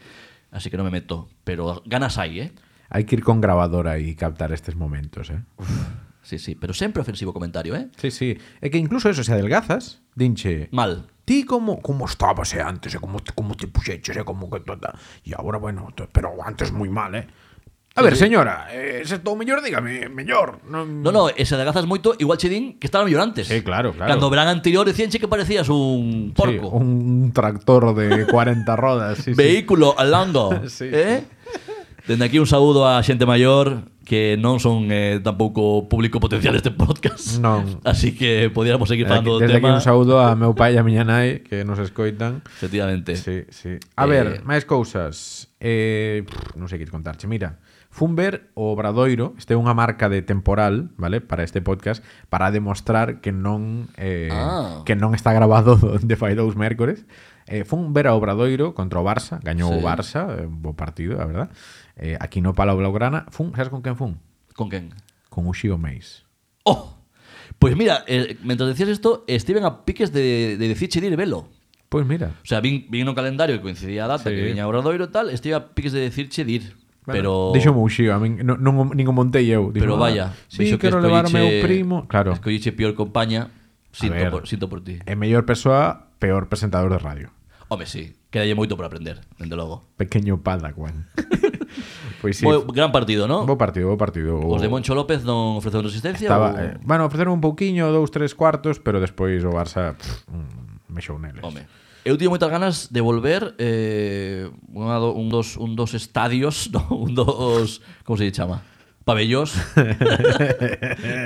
así que non me meto. Pero ganas hai, eh?
Hai que ir con grabadora e captar estes momentos, eh?
Sí, sí, pero sempre ofensivo o comentario, eh?
Sí, sí. É que incluso eso, se adelgazas, dinche,
Mal.
ti como como estabas eh, antes, eh, como te, como te puxeches, eh, como que tota. E agora, bueno, to- pero antes moi mal, eh? A ver, señora, eh, se estou mellor, dígame, mellor. Non...
No, no, e se adelgazas moito, igual che din que estaba mellor antes.
Sí, claro, claro.
Cando o verán anterior decíanche que parecías
Sí,
un porco. un
un tractor de (laughs) 40 rodas. Sí, sí.
vehículo al longo.
(laughs) Sí.
eh? Dende aquí un saúdo á xente maior que non son eh, tampouco público potencial este podcast.
Non.
Así que podiéramos seguir
Desde aquí,
falando do
desde aquí
tema.
un saúdo a meu pai e a miña nai que nos escoitan.
Efectivamente.
Sí, sí. A
Eh,
ver, máis cousas. Eh, pff, non sei que contarche. Mira, fun ver o Obradoiro, este é unha marca de temporal, vale, para este podcast, para demostrar que non eh,
Ah.
que non está grabado (laughs) de fai dous mércores. Eh, fun ver a Obradoiro contra o Barça, gañou o
Sí.
Barça, eh, bo partido, a verdad. Eh, aquí no pala o Blaugrana. Fun, sabes con quen fun?
Con quen?
Con o Xio Meis.
Oh! Pois mira, eh, mentre decías isto, estiven a piques de, de decir chedir velo.
Pois mira,
O sea, vin, vin no calendario que coincidía a data
Sí.
que viña Obradoiro e tal, estive a piques de decir chedir.
Bueno,
pero
Deixo o Xio, a min, non, non, nin o montei eu Dixo,
Pero
"Ah,
vaya,
sí,
vexo
quero levar o meu
escolliche-
primo Claro,
Escolliche peor compañía,
ver.
sinto por, sinto por ti.
é mellor persoa, peor presentador de radio
Home, sí, quedalle moito por aprender, dende logo.
Pequeño
(laughs)
padawan Pois sí,
Sí. Bo, gran partido, non?
bo partido, bo partido
Os de Moncho López non ofreceron resistencia?
Estaba,
ou-
eh, bueno, ofreceron un pouquiño, dous, tres cuartos Pero despois o Barça pff, mm, mexou neles
Home, eu teño moitas ganas de volver eh, unha do, un, dos, un dos estadios, (laughs) no, un dos, como se lle chama?
(laughs)
Pabellós.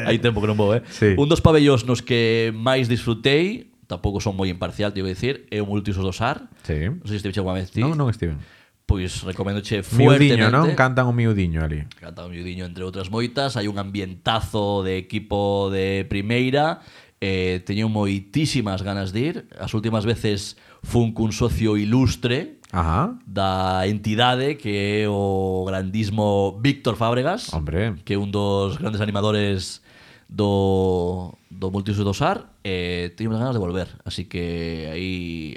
Hai tempo que non vou, eh?
Sí.
Un dos pabellós nos que máis disfrutei, tampouco son moi imparcial, teño que dicir, é o Multiusos do Sar.
Sí.
Non sei se estiveche alguma vez ti.
Non, non estiven
Pois recomendoche fuertemente.
Miudiño, non? Cantan o miudiño ali
Canta o miudiño, entre outras moitas. Hai un ambientazo de equipo de primeira. Eh, teño moitísimas ganas de ir. As últimas veces fun cun socio ilustre
Ajá,
da entidade que é o grandismo Víctor Fábregas,
hombre
que é un dos grandes animadores do, do Multiuso do SAR. Eh, teño ganas de volver. Así que aí,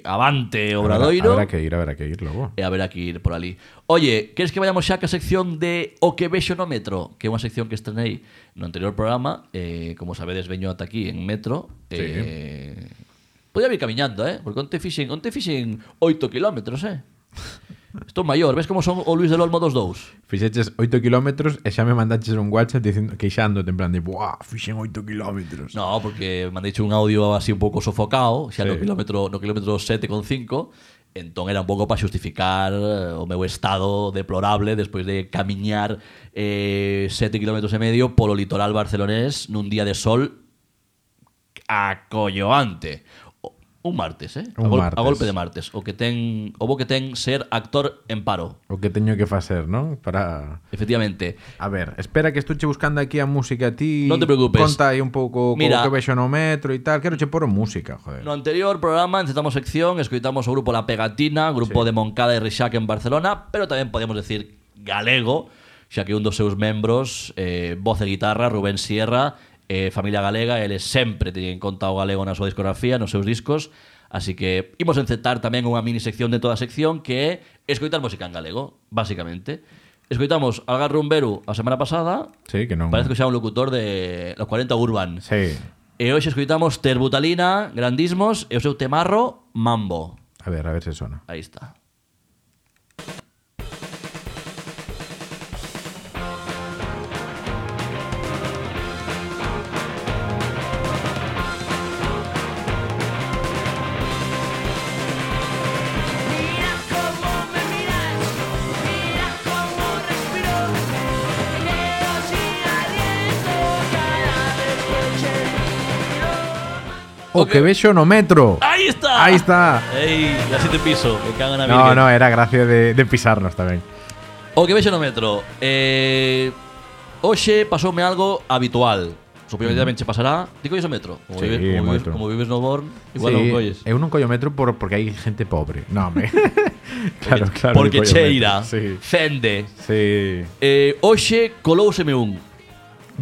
avante, Obradoiro.
Habrá habrá que ir, habrá que ir logo
E haberá que ir por ali. Oye, queres que vayamos xa que sección de O que vexo no metro? Que é unha sección que estrenei no anterior programa. Eh, como sabedes, veño ata aquí en metro. pois
Sí.
Eh, Podía vir camiñando, eh? Porque onte fixen, onte fixen 8 kilómetros, eh? Estou maior, ves como son o Luis del Olmo dos dous?
Fixeches 8 kilómetros e xa me mandaches un WhatsApp dicindo queixándote en plan de, "Buah, fixen 8 kilómetros."
No, porque me han dicho un audio así un pouco sofocado, xa sí. no
Sí.
kilómetro no kilómetro 7,5, entón era un pouco para xustificar eh, o meu estado deplorable despois de camiñar eh, 7 kilómetros e medio polo litoral barcelonés nun día de sol acolloante. O- Un martes, eh? a,
Un
gol-
martes.
a golpe de martes. O que ten, o bo que ten ser actor en paro.
O que teño que facer, non? Para
Efectivamente.
A ver, espera que estuche buscando aquí a música a ti.
Non te preocupes.
Conta aí un pouco
Mira.
Mira, que vexo no metro e tal. Quero che poro música, joder.
No anterior programa encetamos sección, escoitamos o grupo La Pegatina, grupo de Moncada e Reixac en Barcelona, pero tamén podemos decir galego, xa que un dos seus membros, eh, voz e guitarra, Rubén Sierra, eh, familia galega, eles sempre teñen conta o galego na súa discografía, nos seus discos, así que imos encetar tamén unha mini sección dentro da sección que é escoitar música en galego, basicamente. Escoitamos Algar Rumberu a semana pasada,
Sí, que non.
parece que xa un locutor de los 40 Urban.
Sí.
E hoxe escoitamos Terbutalina, Grandismos e o seu temarro Mambo.
A ver, a ver se sona.
Aí está.
Mira cómo me miras, mira cómo respiro, pero si aliento cada despecho.
O que vexo no metro.
Aí está.
Ahí está.
Ei, así te piso, me cago na
No,
virgen.
no, era gracia de, de pisarnos tamén.
O que vexo no metro. Eh, hoxe pasoume algo habitual. Supoño que tamén che pasará. Ti colles o metro? Como,
Mm-hmm. Sí,
vives, como, vives,
moito. Eh,
como vives no Born, igual non colles.
Eu non collo metro por, porque hai gente pobre. No, me. (laughs) claro, claro.
Porque
que collo
cheira,
metro. Sí.
fende.
Sí.
Eh, hoxe colouseme un.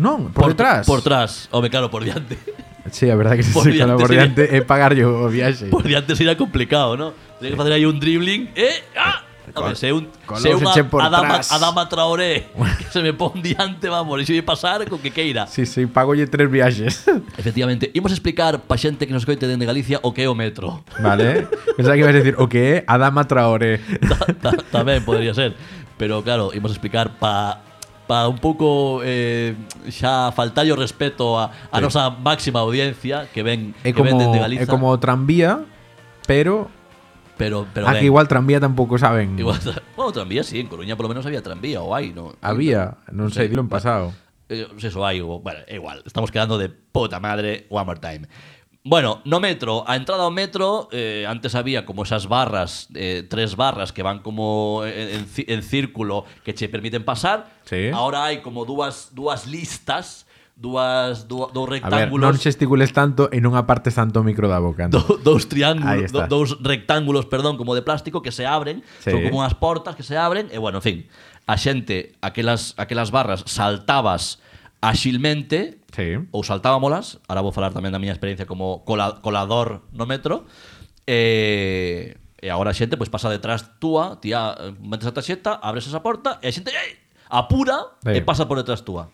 Non, por, detrás.
Por tras. Home, claro, por diante.
Sí, a verdade que se
Por
por diante, por
diante,
diante é pagar yo o viaxe.
Por diante será complicado, ¿no? Tiene que hacer ahí un dribbling. ¡Eh! ¡Ah! A ver, se un,
Con
se
los
unha
echen por
Adama,
atrás.
Adama
(laughs)
Traoré que se me pon diante, vamos, e se pasar con que queira.
Sí, sí, pago yo tres
(laughs)
viaxes.
Efectivamente, imos explicar pa xente que nos coite dende Galicia o que é o metro. (laughs)
Vale. Pensaba que ibas a decir, o que é Adama Traoré.
Ta- ta- Tamén podría ser, pero claro, imos explicar pa pa un pouco eh, xa faltarlle o respeto a, a nosa máxima audiencia que ven
É
que ven
como,
dende
é
Galiza,
como o tranvía, pero...
pero pero
ah, que
ven.
igual tranvía tampouco saben.
Igual, (laughs) bueno, tranvía sí, en Coruña polo menos había tranvía ou hai, non?
Había, non sei, dilo en pasado.
Eh, eso hay, o- bueno, é igual, estamos quedando de puta madre one more time. Bueno, no metro, a entrada ao metro eh, antes había como esas barras, eh, tres barras que van como en, en ci- en círculo que che permiten pasar.
Sí.
Ahora hai como dúas dúas listas, dúas dúa- dous
A ver, non
rectángulos.
xesticules tanto e non apartes tanto o micro da boca. anda.
do- dos
Ahí
triángulos,
está.
do- dos rectángulos, perdón, como de plástico que se abren,
Sí.
son como unhas portas que se abren e bueno, en fin, a xente, aquelas aquelas barras saltabas axilmente
Sí.
ou saltábamolas, ahora vou falar tamén da miña experiencia como cola- colador no metro, e, e agora a xente pois, pasa detrás túa, tía, eh, metes a taxeta, abres esa porta, e a xente ei, apura
Sí.
e pasa por detrás túa.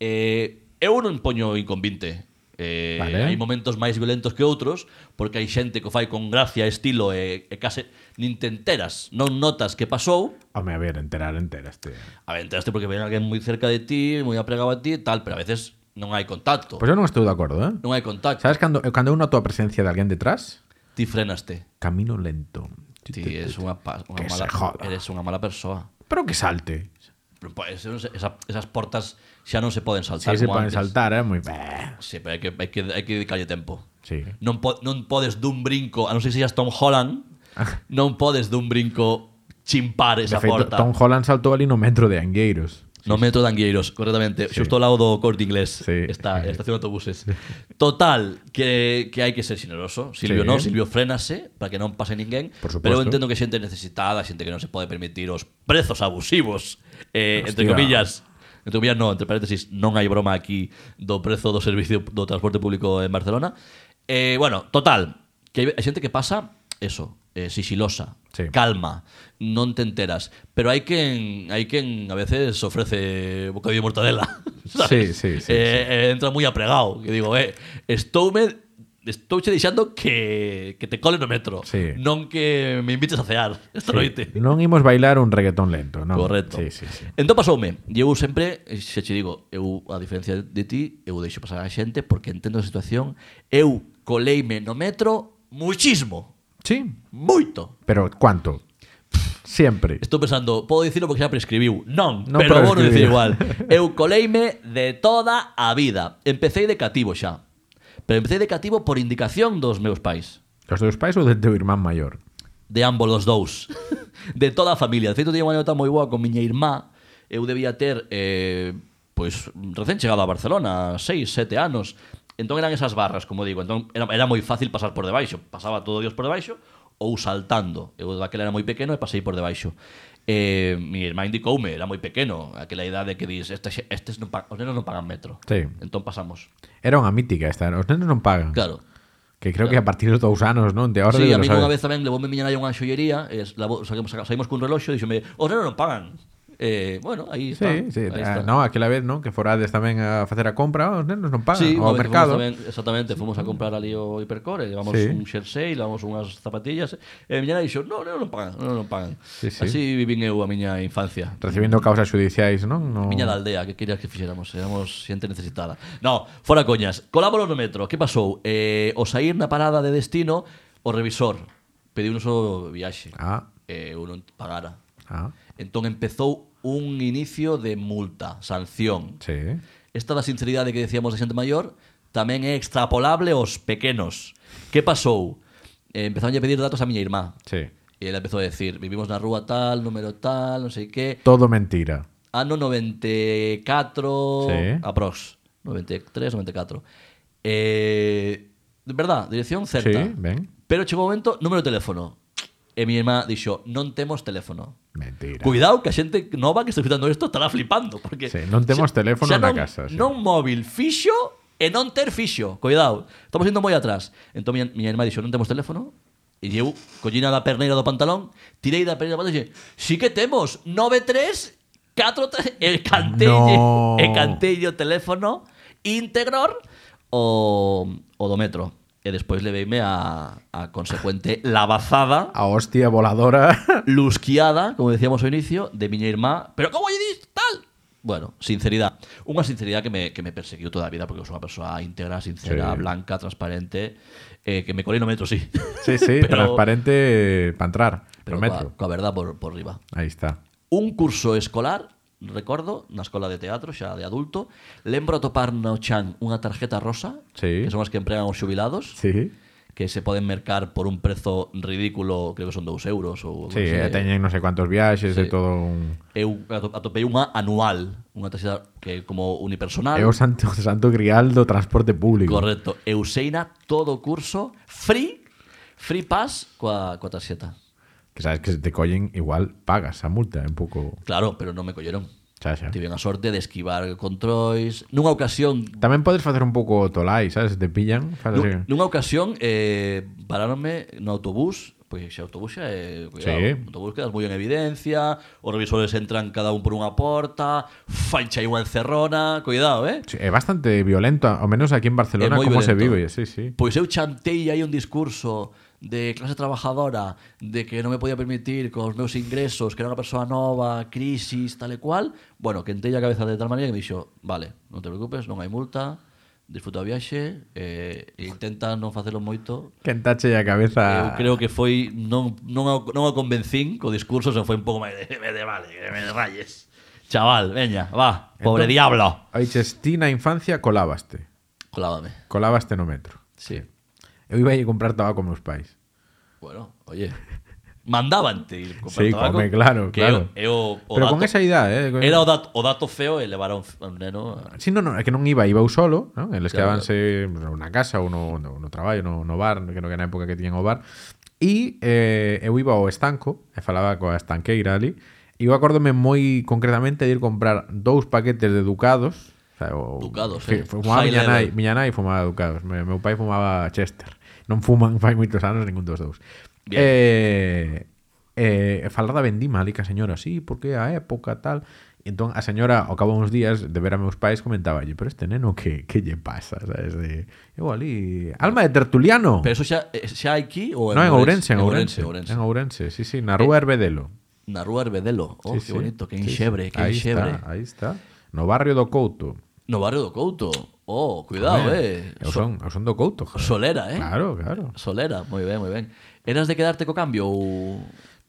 Eh, eu non poño inconvinte, eh,
Vale.
hai momentos máis violentos que outros, porque hai xente que o fai con gracia, estilo, e, e case nin te enteras, non notas que pasou,
Home, a ver, enterar, enteras, tío.
a ver, enteraste porque ven alguén moi cerca de ti, moi apregado a ti, e tal, pero a veces non hai contacto.
Pois pues eu non estou de acordo, eh?
non hai contacto.
Sabes cando, cando eu noto a presencia de alguén detrás?
Ti frenaste.
Camino lento.
Ti eres unha, pa- unha
Que
mala,
se joda.
eres unha mala persoa.
Pero que salte.
Pero, pues, pa, ese non se- esa- esas portas xa non se poden
Si
saltar
se
como
poden
antes.
saltar, é eh? moi... bah.
Sí, pero hai que, hai que, hai que dedicarlle tempo.
Sí.
Non, po, non podes dun brinco, a non ser que seas Tom Holland,
Ah. (laughs)
non podes dun brinco chimpar
De
Ah, esa
feito,
porta.
Tom Holland saltou ali no metro de Angueiros.
No metro de Angueiros, correctamente. Xusto ao lado do corte inglés.
Sí.
Está a estación de autobuses. Total, que, que hai que ser xeneroso.
Sí.
Silvio non, Silvio frénase para que non pase ninguén.
Por suposto.
pero eu entendo que xente necesitada, xente que non se pode permitir os prezos abusivos, eh, entre
Hostia.
comillas. Entre comillas, non, entre paréntesis, non hai broma aquí do prezo do servicio do transporte público en Barcelona. Eh, bueno, total, que hai hai xente que pasa eso, eh, sixilosa,
Sí.
calma, non te enteras. Pero hai quen, hai quen a veces ofrece bocadillo de mortadela. (laughs) ¿sabes?
Sí, sí, sí,
Eh, eh, entra moi apregado, que digo, eh, estoume Estou che deixando que, que te cole no metro
Sí.
Non que me invites a cear esta noite
Non imos bailar un reggaetón lento, non?
Correcto.
Sí, sí, sí.
Entón pasoume, e eu sempre, xa che digo, eu a diferencia de ti, eu deixo pasar a xente porque entendo a situación, eu coleime no metro muchísimo,
Sí,
moito.
pero cuánto? Sempre.
Estou pensando, podo dicilo porque xa prescribiu. Non,
Non
pero vou non
prescribiu. (laughs)
dicir igual. Eu coleime de toda a vida. Empecé de cativo xa. Pero empecé de cativo por indicación dos meus pais.
Os teus pais ou de teu irmán maior?
de ambos os dous de toda a familia de feito teño unha nota moi boa con miña irmá eu debía ter eh, pois recén chegado a Barcelona 6, 7 anos entón eran esas barras como digo entón era, era moi fácil pasar por debaixo pasaba todo Dios por debaixo ou saltando eu daquela era moi pequeno e pasei por debaixo Eh, mi irmá indicoume, era moi pequeno aquela idade que dis, estes, estes non pa- os nenos non pagan metro
Sí.
entón pasamos
Era unha mítica esta. Os nenos non pagan.
claro,
Que creo que a partir dos dous anos, non? De ahora
Sí,
de
a mí
los
unha vez tamén levoume miña nai a unha xollería, e es- lavo- saquemos- saca- saímos cun reloxo e dixome, os nenos non pagan. Eh, bueno, aí está.
Sí, sí.
aí
Ah,
está.
no, aquela vez, non? Que forades tamén a facer a compra, os nenos non pagan.
Sí,
ao
unha vez que
mercado.
Fomos tamén, exactamente, fomos a comprar ali o hipercore, levamos
Sí.
un jersey, levamos unhas zapatillas, e miña nai dixo, non, non, non pagan, non, non pagan.
Sí, sí.
Así vivín eu a miña infancia.
Recibindo causas judiciais, non? No...
Miña da aldea, que querías que fixéramos? Éramos xente necesitada. No, fora coñas. Colámonos no metro. Que pasou? Eh, o saír na parada de destino, o revisor pediunos o viaxe. eh,
Ah.
E eu non pagara.
Ah,
Entón empezou un inicio de multa, sanción.
sí.
Esta da sinceridade que decíamos da xente maior tamén é extrapolable aos pequenos. Que pasou? Eh, empezaron a pedir datos a miña irmá.
Sí.
E ela empezou a decir, vivimos na rúa tal, número tal, non sei que.
Todo mentira.
Ano 94,
Sí.
aprox. 93, 94. Eh, de verdad, dirección certa.
Sí, ben.
Pero chegou o momento, número de teléfono. E mi irmá dixo, non temos teléfono.
Mentira.
Cuidado que a xente nova que está escutando isto estará flipando porque
Sí, non temos teléfono
xa
na
non-
casa, sí.
Non móvil fixo e non ter fixo. Cuidado, estamos indo moi atrás. Entón miña, miña irmá dixo, non temos teléfono? E eu collina da perneira do pantalón, tirei da perneira do pantalón e dixen, sí que temos, e 93 43 e cantelle,
No.
e cantelle o teléfono íntegro o, o do metro. E despois leveime a, a consecuente lavazada
A hostia
(laughs)
voladora.
lusquiada, como decíamos ao inicio, de miña irmá, pero como lle dis tal? Bueno, sinceridad. Unha sinceridad que me, que me perseguiu toda a vida porque eu sou unha persoa íntegra, sincera,
Sí.
blanca, transparente, eh, que me colei no metro, sí.
Sí, sí,
(laughs) Pero-
transparente para entrar. Pero
Pero
metro.
Coa, coa verdad por, por riba.
Aí está.
Un curso escolar, recordo, na escola de teatro, xa de adulto, lembro atopar no chan unha tarjeta rosa,
Sí.
que son as que empregan os xubilados,
Sí.
que se poden mercar por un prezo ridículo, creo que son 2 euros ou
Sí,
non sei.
e teñen non sei cuántos viaxes e
Pues Sí.
todo un...
Eu ato- atopei unha anual, unha tarxeta que é como unipersonal.
É o santo, (laughs) santo grial do transporte público.
Correcto. Eu seina todo o curso free, free pass coa, coa tarxeta.
Que sabes que se te collen igual pagas a multa, é un pouco...
Claro, pero non me colleron.
Xa, xa.
Tive a sorte de esquivar controis. Nunha ocasión
Tamén podes facer un pouco tolai, sabes? Se te pillan, faz así.
Nun, nunha ocasión eh, paráronme no autobús Pois xe autobús xa é cuidado,
Sí.
o autobús quedas moi en evidencia Os revisores entran cada un por unha porta Fancha unha encerrona Cuidado, eh?
Sí, é bastante violento, ao menos aquí en Barcelona,
É moi
como se
violento.
vive, sí, sí.
Pois eu chantei aí un discurso de clase trabajadora, de que non me podía permitir cos meus ingresos, que era unha persoa nova, crisis, tal e cual. Bueno, quentei a cabeza de tal maneira que me dixo, vale, non te preocupes, non hai multa, disfruta o viaxe, eh, e intenta non facelo moito.
Quentache a cabeza...
Eu creo que foi non non o, non o convencín co discurso, se foi un pouco máis de, me de vale, que me de rayes. Chaval, veña, va, pobre
Entón-
diablo.
Oiches, ti na infancia colábaste.
Colávame.
Colábaste no metro.
Sí.
Eu iba a ir comprar tabaco meus pais.
Bueno, oye. Mandabante ir comprar
Sí,
tabaco,
come, claro,
que
claro.
é o- é o- o
Pero
dato-
con esa idade, eh, con-
Era o dato, o dato feo e levar a un, a un neno... a-
Si, sí, non, non, é que non iba, iba eu solo, non? Eles
Claro,
quedábanse na casa ou no, no, no traballo, no, no bar, que non que na época que tiñan o bar. E eh, eu iba ao estanco, e falaba coa estanqueira ali, e eu acórdome moi concretamente de ir comprar dous paquetes de ducados, o sea, o,
Ducados, eh.
Fumaba
High
miña nai,
level.
miña nai fumaba ducados, meu, meu pai fumaba Chester. Non fuman fai moitos anos ningún dos dous.
Bien.
Eh, eh, falar da vendima ali ca señora, sí, porque a época tal, Entón, a señora, ao cabo uns días de ver a meus pais, comentaba, pero este neno, que, que lle pasa? Sabes? De, eu ali, alma de tertuliano.
Pero eso xa, eh, xa hai aquí ou
no, en Ourense, en Ourense.
Ourense.
En Ourense, sí, sí, na rúa Herbedelo.
Na rúa Herbedelo. Oh,
Sí,
que
sí.
bonito, que
Sí, sí.
enxebre, que
Ahí
enxebre.
Está, ahí está. No barrio do Couto.
No barrio do Couto. Oh, cuidado, eh.
Eu
So-
son, eu son do Couto. joder.
Solera, eh.
Claro, claro.
Solera, moi ben, moi ben. Eras de quedarte co cambio ou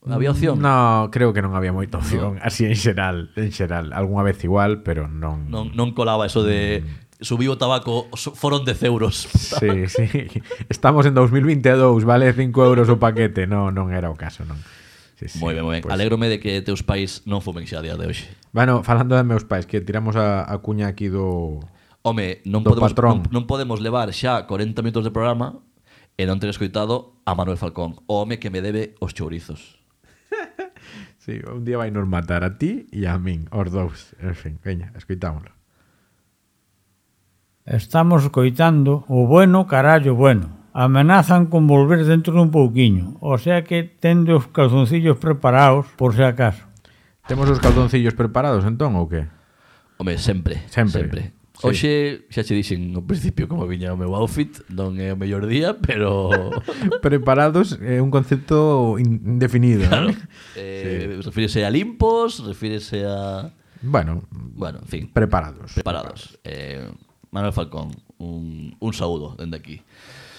había opción?
No, creo que non había moita opción, así en xeral, en xeral, algunha vez igual, pero non.
Non, non colaba eso de subiu o tabaco, so- foron 10 euros.
Sí, (laughs) sí. Estamos en 2022, e vale 5 euros o paquete. No, non era o caso, non. Sí, sí.
moi ben, moi ben.
Pois-
Alégrome de que teus pais non fumen xa a día de hoxe.
Bueno, falando de meus pais, que tiramos a, a cuña aquí do...
Home, non
Do
podemos,
patrón.
non, non podemos levar xa 40 minutos de programa e non ter escoitado a Manuel Falcón, o home que me debe os chourizos.
Sí, un día vai nos matar a ti e a min, os dous. En fin, veña, escoitámoslo.
Estamos coitando o bueno carallo bueno. Amenazan con volver dentro dun pouquiño, o sea que tende os calzoncillos preparados por se acaso.
Temos os calzoncillos preparados, entón, ou
(laughs)
que?
Home, sempre,
Sempre.
sempre.
Sí.
Oxe, xa che dixen no principio como viña o meu outfit, non é o mellor día, pero
(laughs) Preparados é un concepto in- indefinido,
claro,
non?
eh, refírese a limpos, refírese a...
Bueno,
Bueno, en fin,
preparados.
preparados. Eh, Manuel Falcón, un, un saúdo dende aquí.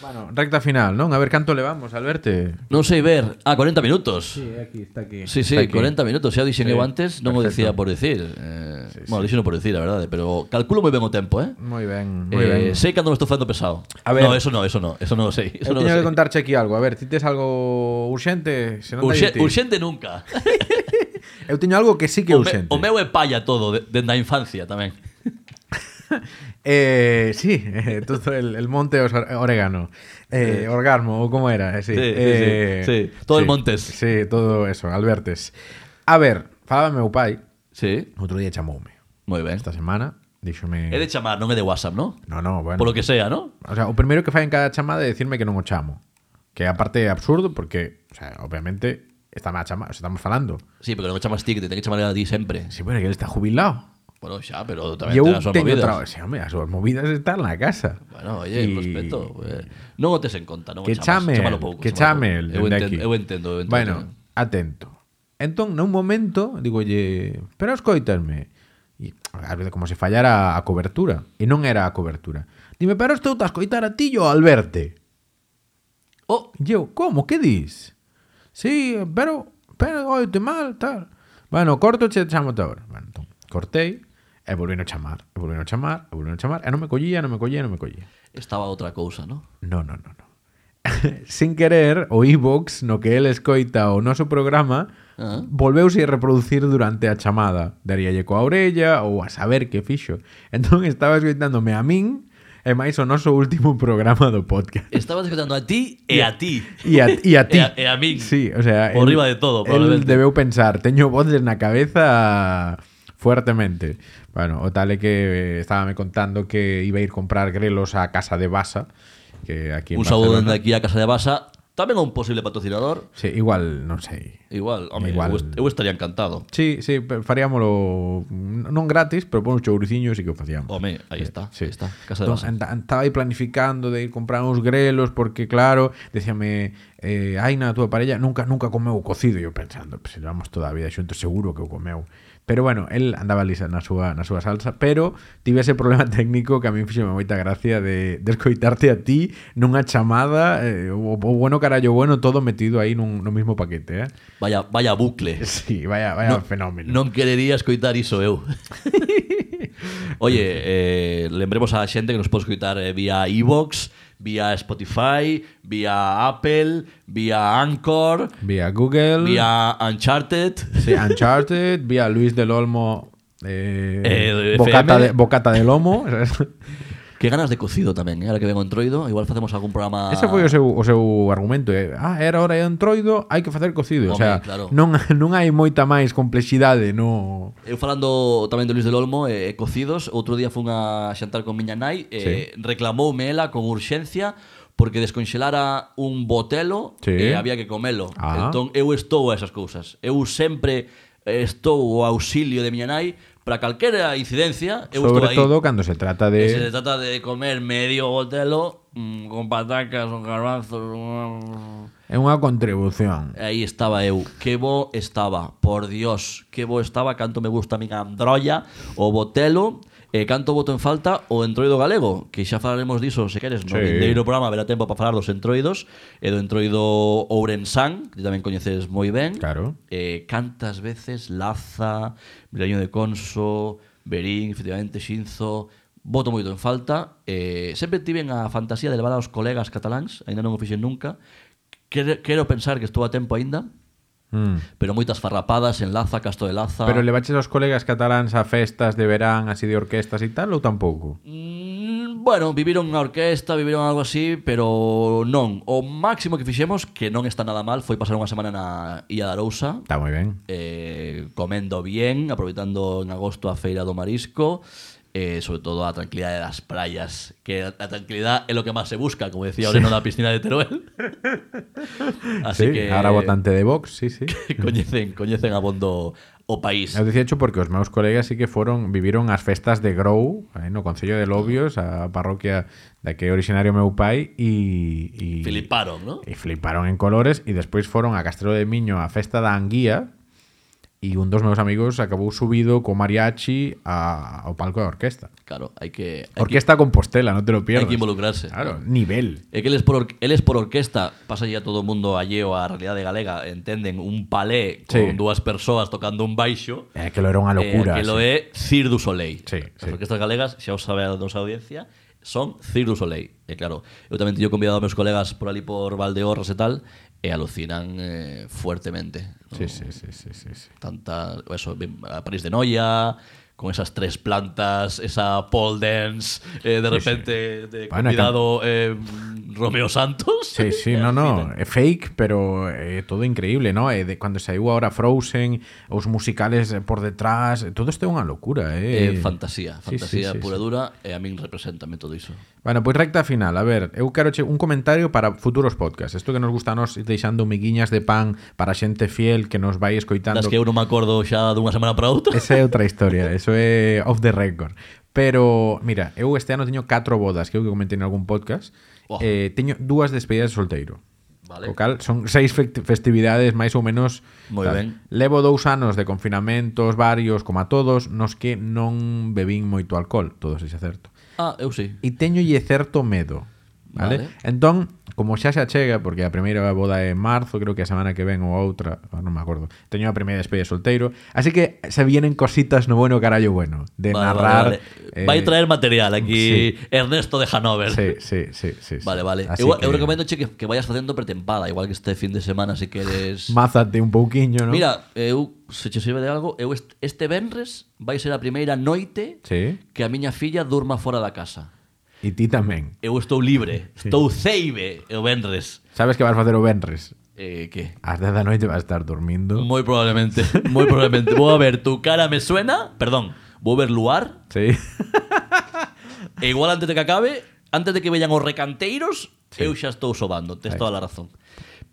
Bueno, recta final, non? A ver canto levamos, Alberto.
Non sei ver... Ah, 40 minutos.
Sí, aquí, está aquí.
Sí, sí, 40 minutos, xa dixen
Sí,
eu antes, non o
perfecto.
dicía por dicir. Eh, bueno, dixen por dicir, a verdade, pero calculo moi ben o tempo, eh?
Moi ben, moi ben.
eh sei cando me estou facendo pesado.
A ver.
No, eso no, eso no, eso non o sei.
Eu
Eso non o
teño que
sei.
contarche aquí algo. A ver, ti tes algo urxente? Se non
Urxe-
Urxe,
urxente nunca.
Eu teño algo que sí que é
o, me,
urxente.
o meu é palla todo, de- dende a infancia tamén.
Eh, sí, eh, todo el, el monte os- orégano. Eh, Orgasmo, o como era. eh, sí.
Sí, sí, sí,
Eh,
sí. Todo el montes.
Sí, todo eso, Albertes. A ver, falaba meu pai,
Sí,
outro día chamoume.
moi ben.
Esta semana, díxome...
É de chamar, non é de WhatsApp, non?
No, no, bueno.
Por lo que sea, non?
O sea, o primeiro que fai en cada chamada é dicirme que non o chamo. Que aparte é absurdo porque, o sea, obviamente, estamos a chamar, o sea, estamos falando.
Sí, pero non me chamas ti, que te ten que chamar a ti sempre.
Si, bueno, que ele está jubilado.
Bueno, xa, pero
E
tamén
eu
ten as súas
teño
movidas.
traballo. Sí, home, as súas movidas están na casa.
Bueno, oye,
E-
respeto. eh, non o tes en conta, non o
Que
chamas,
chame, el,
chámalo pouco,
que
chámalo
chame
pouco.
el
eu
dende
entendo,
aquí.
eu entendo, eu entendo.
Bueno, atento. Entón, nun momento, digolle, pero escoitarme. E, a ver, como se fallara a cobertura. E non era a cobertura. Dime, pero estou a escoitar a ti e ao Alberto.
Oh,
E eu, como, que dis? Sí, pero, pero, oite mal, tal. Bueno, corto che chamo te ahora. Bueno, entón, cortei, e volvino a chamar, e volvino a chamar, e volvino a chamar, e non me collía, non me collía, non me collía.
estaba outra cousa, non?
No, no, no, no. (laughs) Sin querer, o iVox, no que el escoita o noso programa,
Ah.
volveuse a reproducir durante a chamada. Daríalle coa orella ou a saber que fixo. Entón estaba escoitándome a min e máis o noso último (laughs) programa do podcast.
Estabas escutando a ti e a ti.
E a, e a ti.
(laughs) E a- e a min.
Sí, o sea...
Por riba de todo,
él
probablemente.
debeu pensar, teño voces na cabeza fuertemente. Bueno, o tal é que eh, estábame contando que iba a ir comprar grelos a casa de Basa, que aquí en
Un saúdo
Barcelona.
dende aquí a Casa de Basa, tamén a un posible patrocinador.
Sí, igual, non sei.
Igual, home,
Igual.
Eu, est- eu estaría encantado.
Sí, sí, pe- faríamolo n- non gratis, pero por uns chouricinhos e que o facíamos.
Home, aí Oh, está,
Sí. Pues,
aí está, Casa de
Entón,
Basa.
anda- Estaba aí planificando de ir comprar uns grelos porque, claro, decíame eh, Aina, a túa parella, nunca nunca comeu o cocido. E eu pensando, pues, se levamos toda a vida xuntos, seguro que o comeu. Pero bueno, el andaba lisa na súa, na súa salsa, pero tive ese problema (laughs) técnico que a mí fixeme moita gracia de, de escoitarte a ti nunha chamada, eh, o, o bueno carallo bueno, todo metido aí nun, no mismo paquete, eh?
Vaya, vaya bucle.
(laughs) Sí, vaya, vaya fenómeno.
Non querería escoitar
(laughs)
iso eu. Oye, eh, lembremos a xente que nos pode escoitar eh, vía iVox, vía Spotify, vía Apple, vía Anchor,
Vía Google,
vía Uncharted.
sí, Uncharted, vía Luis del Olmo, eh,
Eh,
bocata,
FM.
de, bocata de (laughs) lomo.
Que ganas de cocido tamén, eh, ahora que vengo entroido. Igual facemos algún programa...
Ese foi o seu, o seu argumento. Eh. Ah, era hora de entroido, hai que facer cocido. o
Home,
sea,
claro.
non, (laughs) non hai moita máis complexidade no...
Eu Eh, falando tamén de Luis del Olmo e eh, cocidos, outro día fun a xantar con miña nai e eh, reclamoume ela con urxencia porque desconxelara un botelo
Sí.
e había que comelo.
Ah.
Entón eu estou a esas cousas. Eu sempre eh, estou ao auxilio de miña nai para calquera incidencia, eu estou
Sobre
aí.
todo eh. cando se trata
E se
de...
se trata de comer medio botelo mm, con patacas, con garbanzos... mm,
É unha contribución.
Aí estaba eu. Que bo estaba, por Dios. Que bo estaba, canto me gusta a miña androlla, o botelo, e canto voto en falta o entroido galego, que xa falaremos diso, se queres, no
Sí.
vindeiro programa verá tempo para falar dos entroidos, e do entroido Ourensán, que ti tamén coñeces moi ben.
Claro.
E Eh, cantas veces Laza, Milaño de Conso, Berín, efectivamente, Xinzo, voto moito en falta. Eh, sempre tiven a fantasía de levar aos colegas cataláns, aínda non o fixen nunca. Quero, quero pensar que estou a tempo aínda,
Mm.
pero moitas farrapadas en Laza, Casto de Laza...
Pero levaches aos colegas cataláns a festas de verán, así de orquestas e tal, ou tampouco?
Mm, Bueno, viviron unha orquesta, viviron algo así, pero non. O máximo que fixemos, que non está nada mal, foi pasar unha semana na Illa da Arousa,
Está moi ben.
eh, comendo bien, aproveitando en agosto a feira do marisco, eh, sobre todo a tranquilidade das praias, que a a tranquilidade é lo que máis se busca, como decía Oreno na piscina de
(laughs)
Teruel.
sí,
Así que
Ahora votante de Vox, sí, sí.
(laughs) coñecen, coñecen abondo o país.
Eu dicía porque os meus colegas sí que foron viviron as festas de Grou, aí no Concello de Lobios, a parroquia da que é originario meu pai e e
Filiparon, ¿no?
e fliparon en colores e despois foron a Castelo de Miño a festa da Anguía e un dos meus amigos acabou subido co mariachi a, ao palco da orquesta.
Claro, hai que hai que,
Orquesta Compostela, non te lo
hai
pierdas.
que involucrarse.
Claro, nivel.
É que eles por, or- eles por orquesta, pasa a todo o mundo alleo a realidade galega, entenden un palé
Sí.
con dúas persoas tocando un baixo,
É que lo era unha locura.
Eh, que lo
sí.
é Cirque du Soleil.
Sí,
As
sí.
orquestas galegas, xa os sabe a nosa audiencia, son Cirque du Soleil. E claro, eu tamén teño convidado a meus colegas por ali por Valdeorras e tal, e alucinan eh, fuertemente. ¿no?
Sí, sí, sí, sí, sí, sí.
Tanta, eso, ben- a París de Noia, con esas tres plantas, esa pole dance, eh, de repente de
Bueno,
convidado eh, Romeo Santos.
Sí, sí,
(laughs)
no, no, é fake, pero é todo increíble, ¿no? É de cando saiu ahora Frozen, os musicales eh, por detrás, eh, todo isto é unha locura, eh.
É fantasía,
Sí, sí,
fantasía
sí,
pura e
sí.
dura, e a min representame todo iso.
Bueno, pois recta final, a ver, eu quero che un comentario para futuros podcasts. Isto que nos gusta a nós ir deixando miguiñas de pan para xente fiel que nos vai escoitando.
Das que eu non me acordo xa dunha semana para outra.
Esa é outra historia, eso é off the record. Pero, mira, eu este ano teño catro bodas, creo que comentei en algún podcast.
Oh.
Eh, teño dúas despedidas de solteiro.
Vale.
O cal son seis fec- festividades máis ou menos
Moi ben.
Levo dous anos de confinamentos varios, como a todos, nos que non bebín moito alcohol, todo se xa certo.
Ah, eu sí.
E teñolle certo medo, vale?
Vale.
Entón, como xa xa chega, porque a primeira boda é en marzo, creo que a semana que ven ou a outra, ah, non me acordo, teño a primeira despedida de solteiro, así que se vienen cositas no bueno e carallo bueno, de
Vale,
narrar... eh,
vale, vale. Vai traer material aquí
sí.
Ernesto de Hanover.
Sí, sí, sí, sí, sí.
Vale, vale.
Así
Eu,
que
eu recomendo che que, que vayas facendo pretempada, igual que este fin de semana se queres.
Mázate un pouquiño, non?
Mira, eu se che sirve de algo, eu este, este venres vai ser a primeira noite
Sí,
que a miña filla durma fora da casa.
e ti tamén.
Eu estou libre, estou ceibe o venres.
Sabes que vas facer o Benres?
Eh, que?
Ás 10 da noite vas estar dormindo.
Moi probablemente, moi probablemente. Vou a ver, tu cara me suena, perdón, vou ver luar,
Sí. (laughs)
E igual antes de que acabe, antes de que vellan os recanteiros, eu xa estou sobando, tes toda a razón.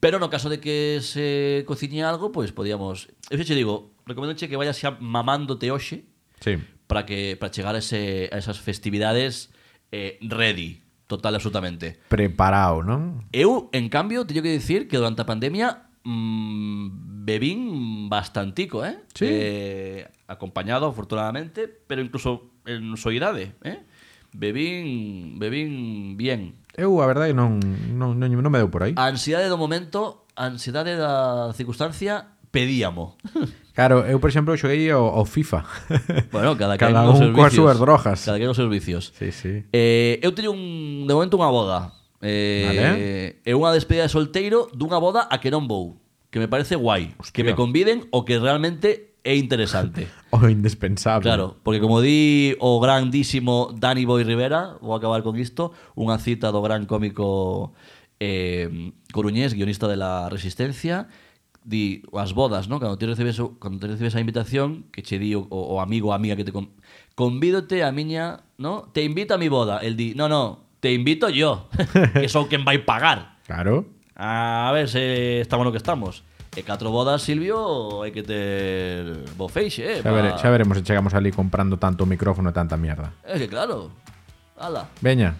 Pero no caso de que se cociñe algo, pois podíamos... Eu xa che digo, recomendoche que vayas xa mamándote hoxe
Sí.
para que para chegar a, ese, a esas festividades eh, ready, total e absolutamente.
Preparado, non?
Eu, en cambio, teño que dicir que durante a pandemia mm, bebín bastantico, eh?
Sí.
Eh, acompañado, afortunadamente, pero incluso en soidade, eh? Bebín, bebín bien.
Eu a verdade non, non, non, non me deu por aí.
A ansiedade do momento, a ansiedade da circunstancia, pedíamo.
Claro, eu, por exemplo, xoguei ao, ao FIFA.
(laughs) Bueno,
(laughs)
cada, quen
Cada
nos
un
seus
coas
vicios.
súas drogas.
Cada quen os seus vicios.
Sí, sí.
Eh, eu teño un, de momento unha boda. Eh, E unha despedida de solteiro dunha boda a que non vou. Que me parece guai.
Hostia.
Que me conviden o que realmente é interesante.
O indispensable.
Claro, porque como di o grandísimo Danny Boy Rivera, vou acabar con isto, unha cita do gran cómico eh, coruñés, guionista de la Resistencia, di as bodas, ¿no? Cando ti recibes o- cando ti recibes a invitación, que che di o, o amigo ou amiga que te con... convídote a miña, ¿no? Te invito a mi boda. El di, "No, no, te invito (laughs) yo, que son quen vai pagar."
Claro.
A ver se estamos no que estamos. E catro bodas, Silvio, hai que ter bo feixe, eh?
Xa, vere-
pa-
xa veremos se chegamos ali comprando tanto micrófono e tanta mierda.
É que claro. Ala.
Veña,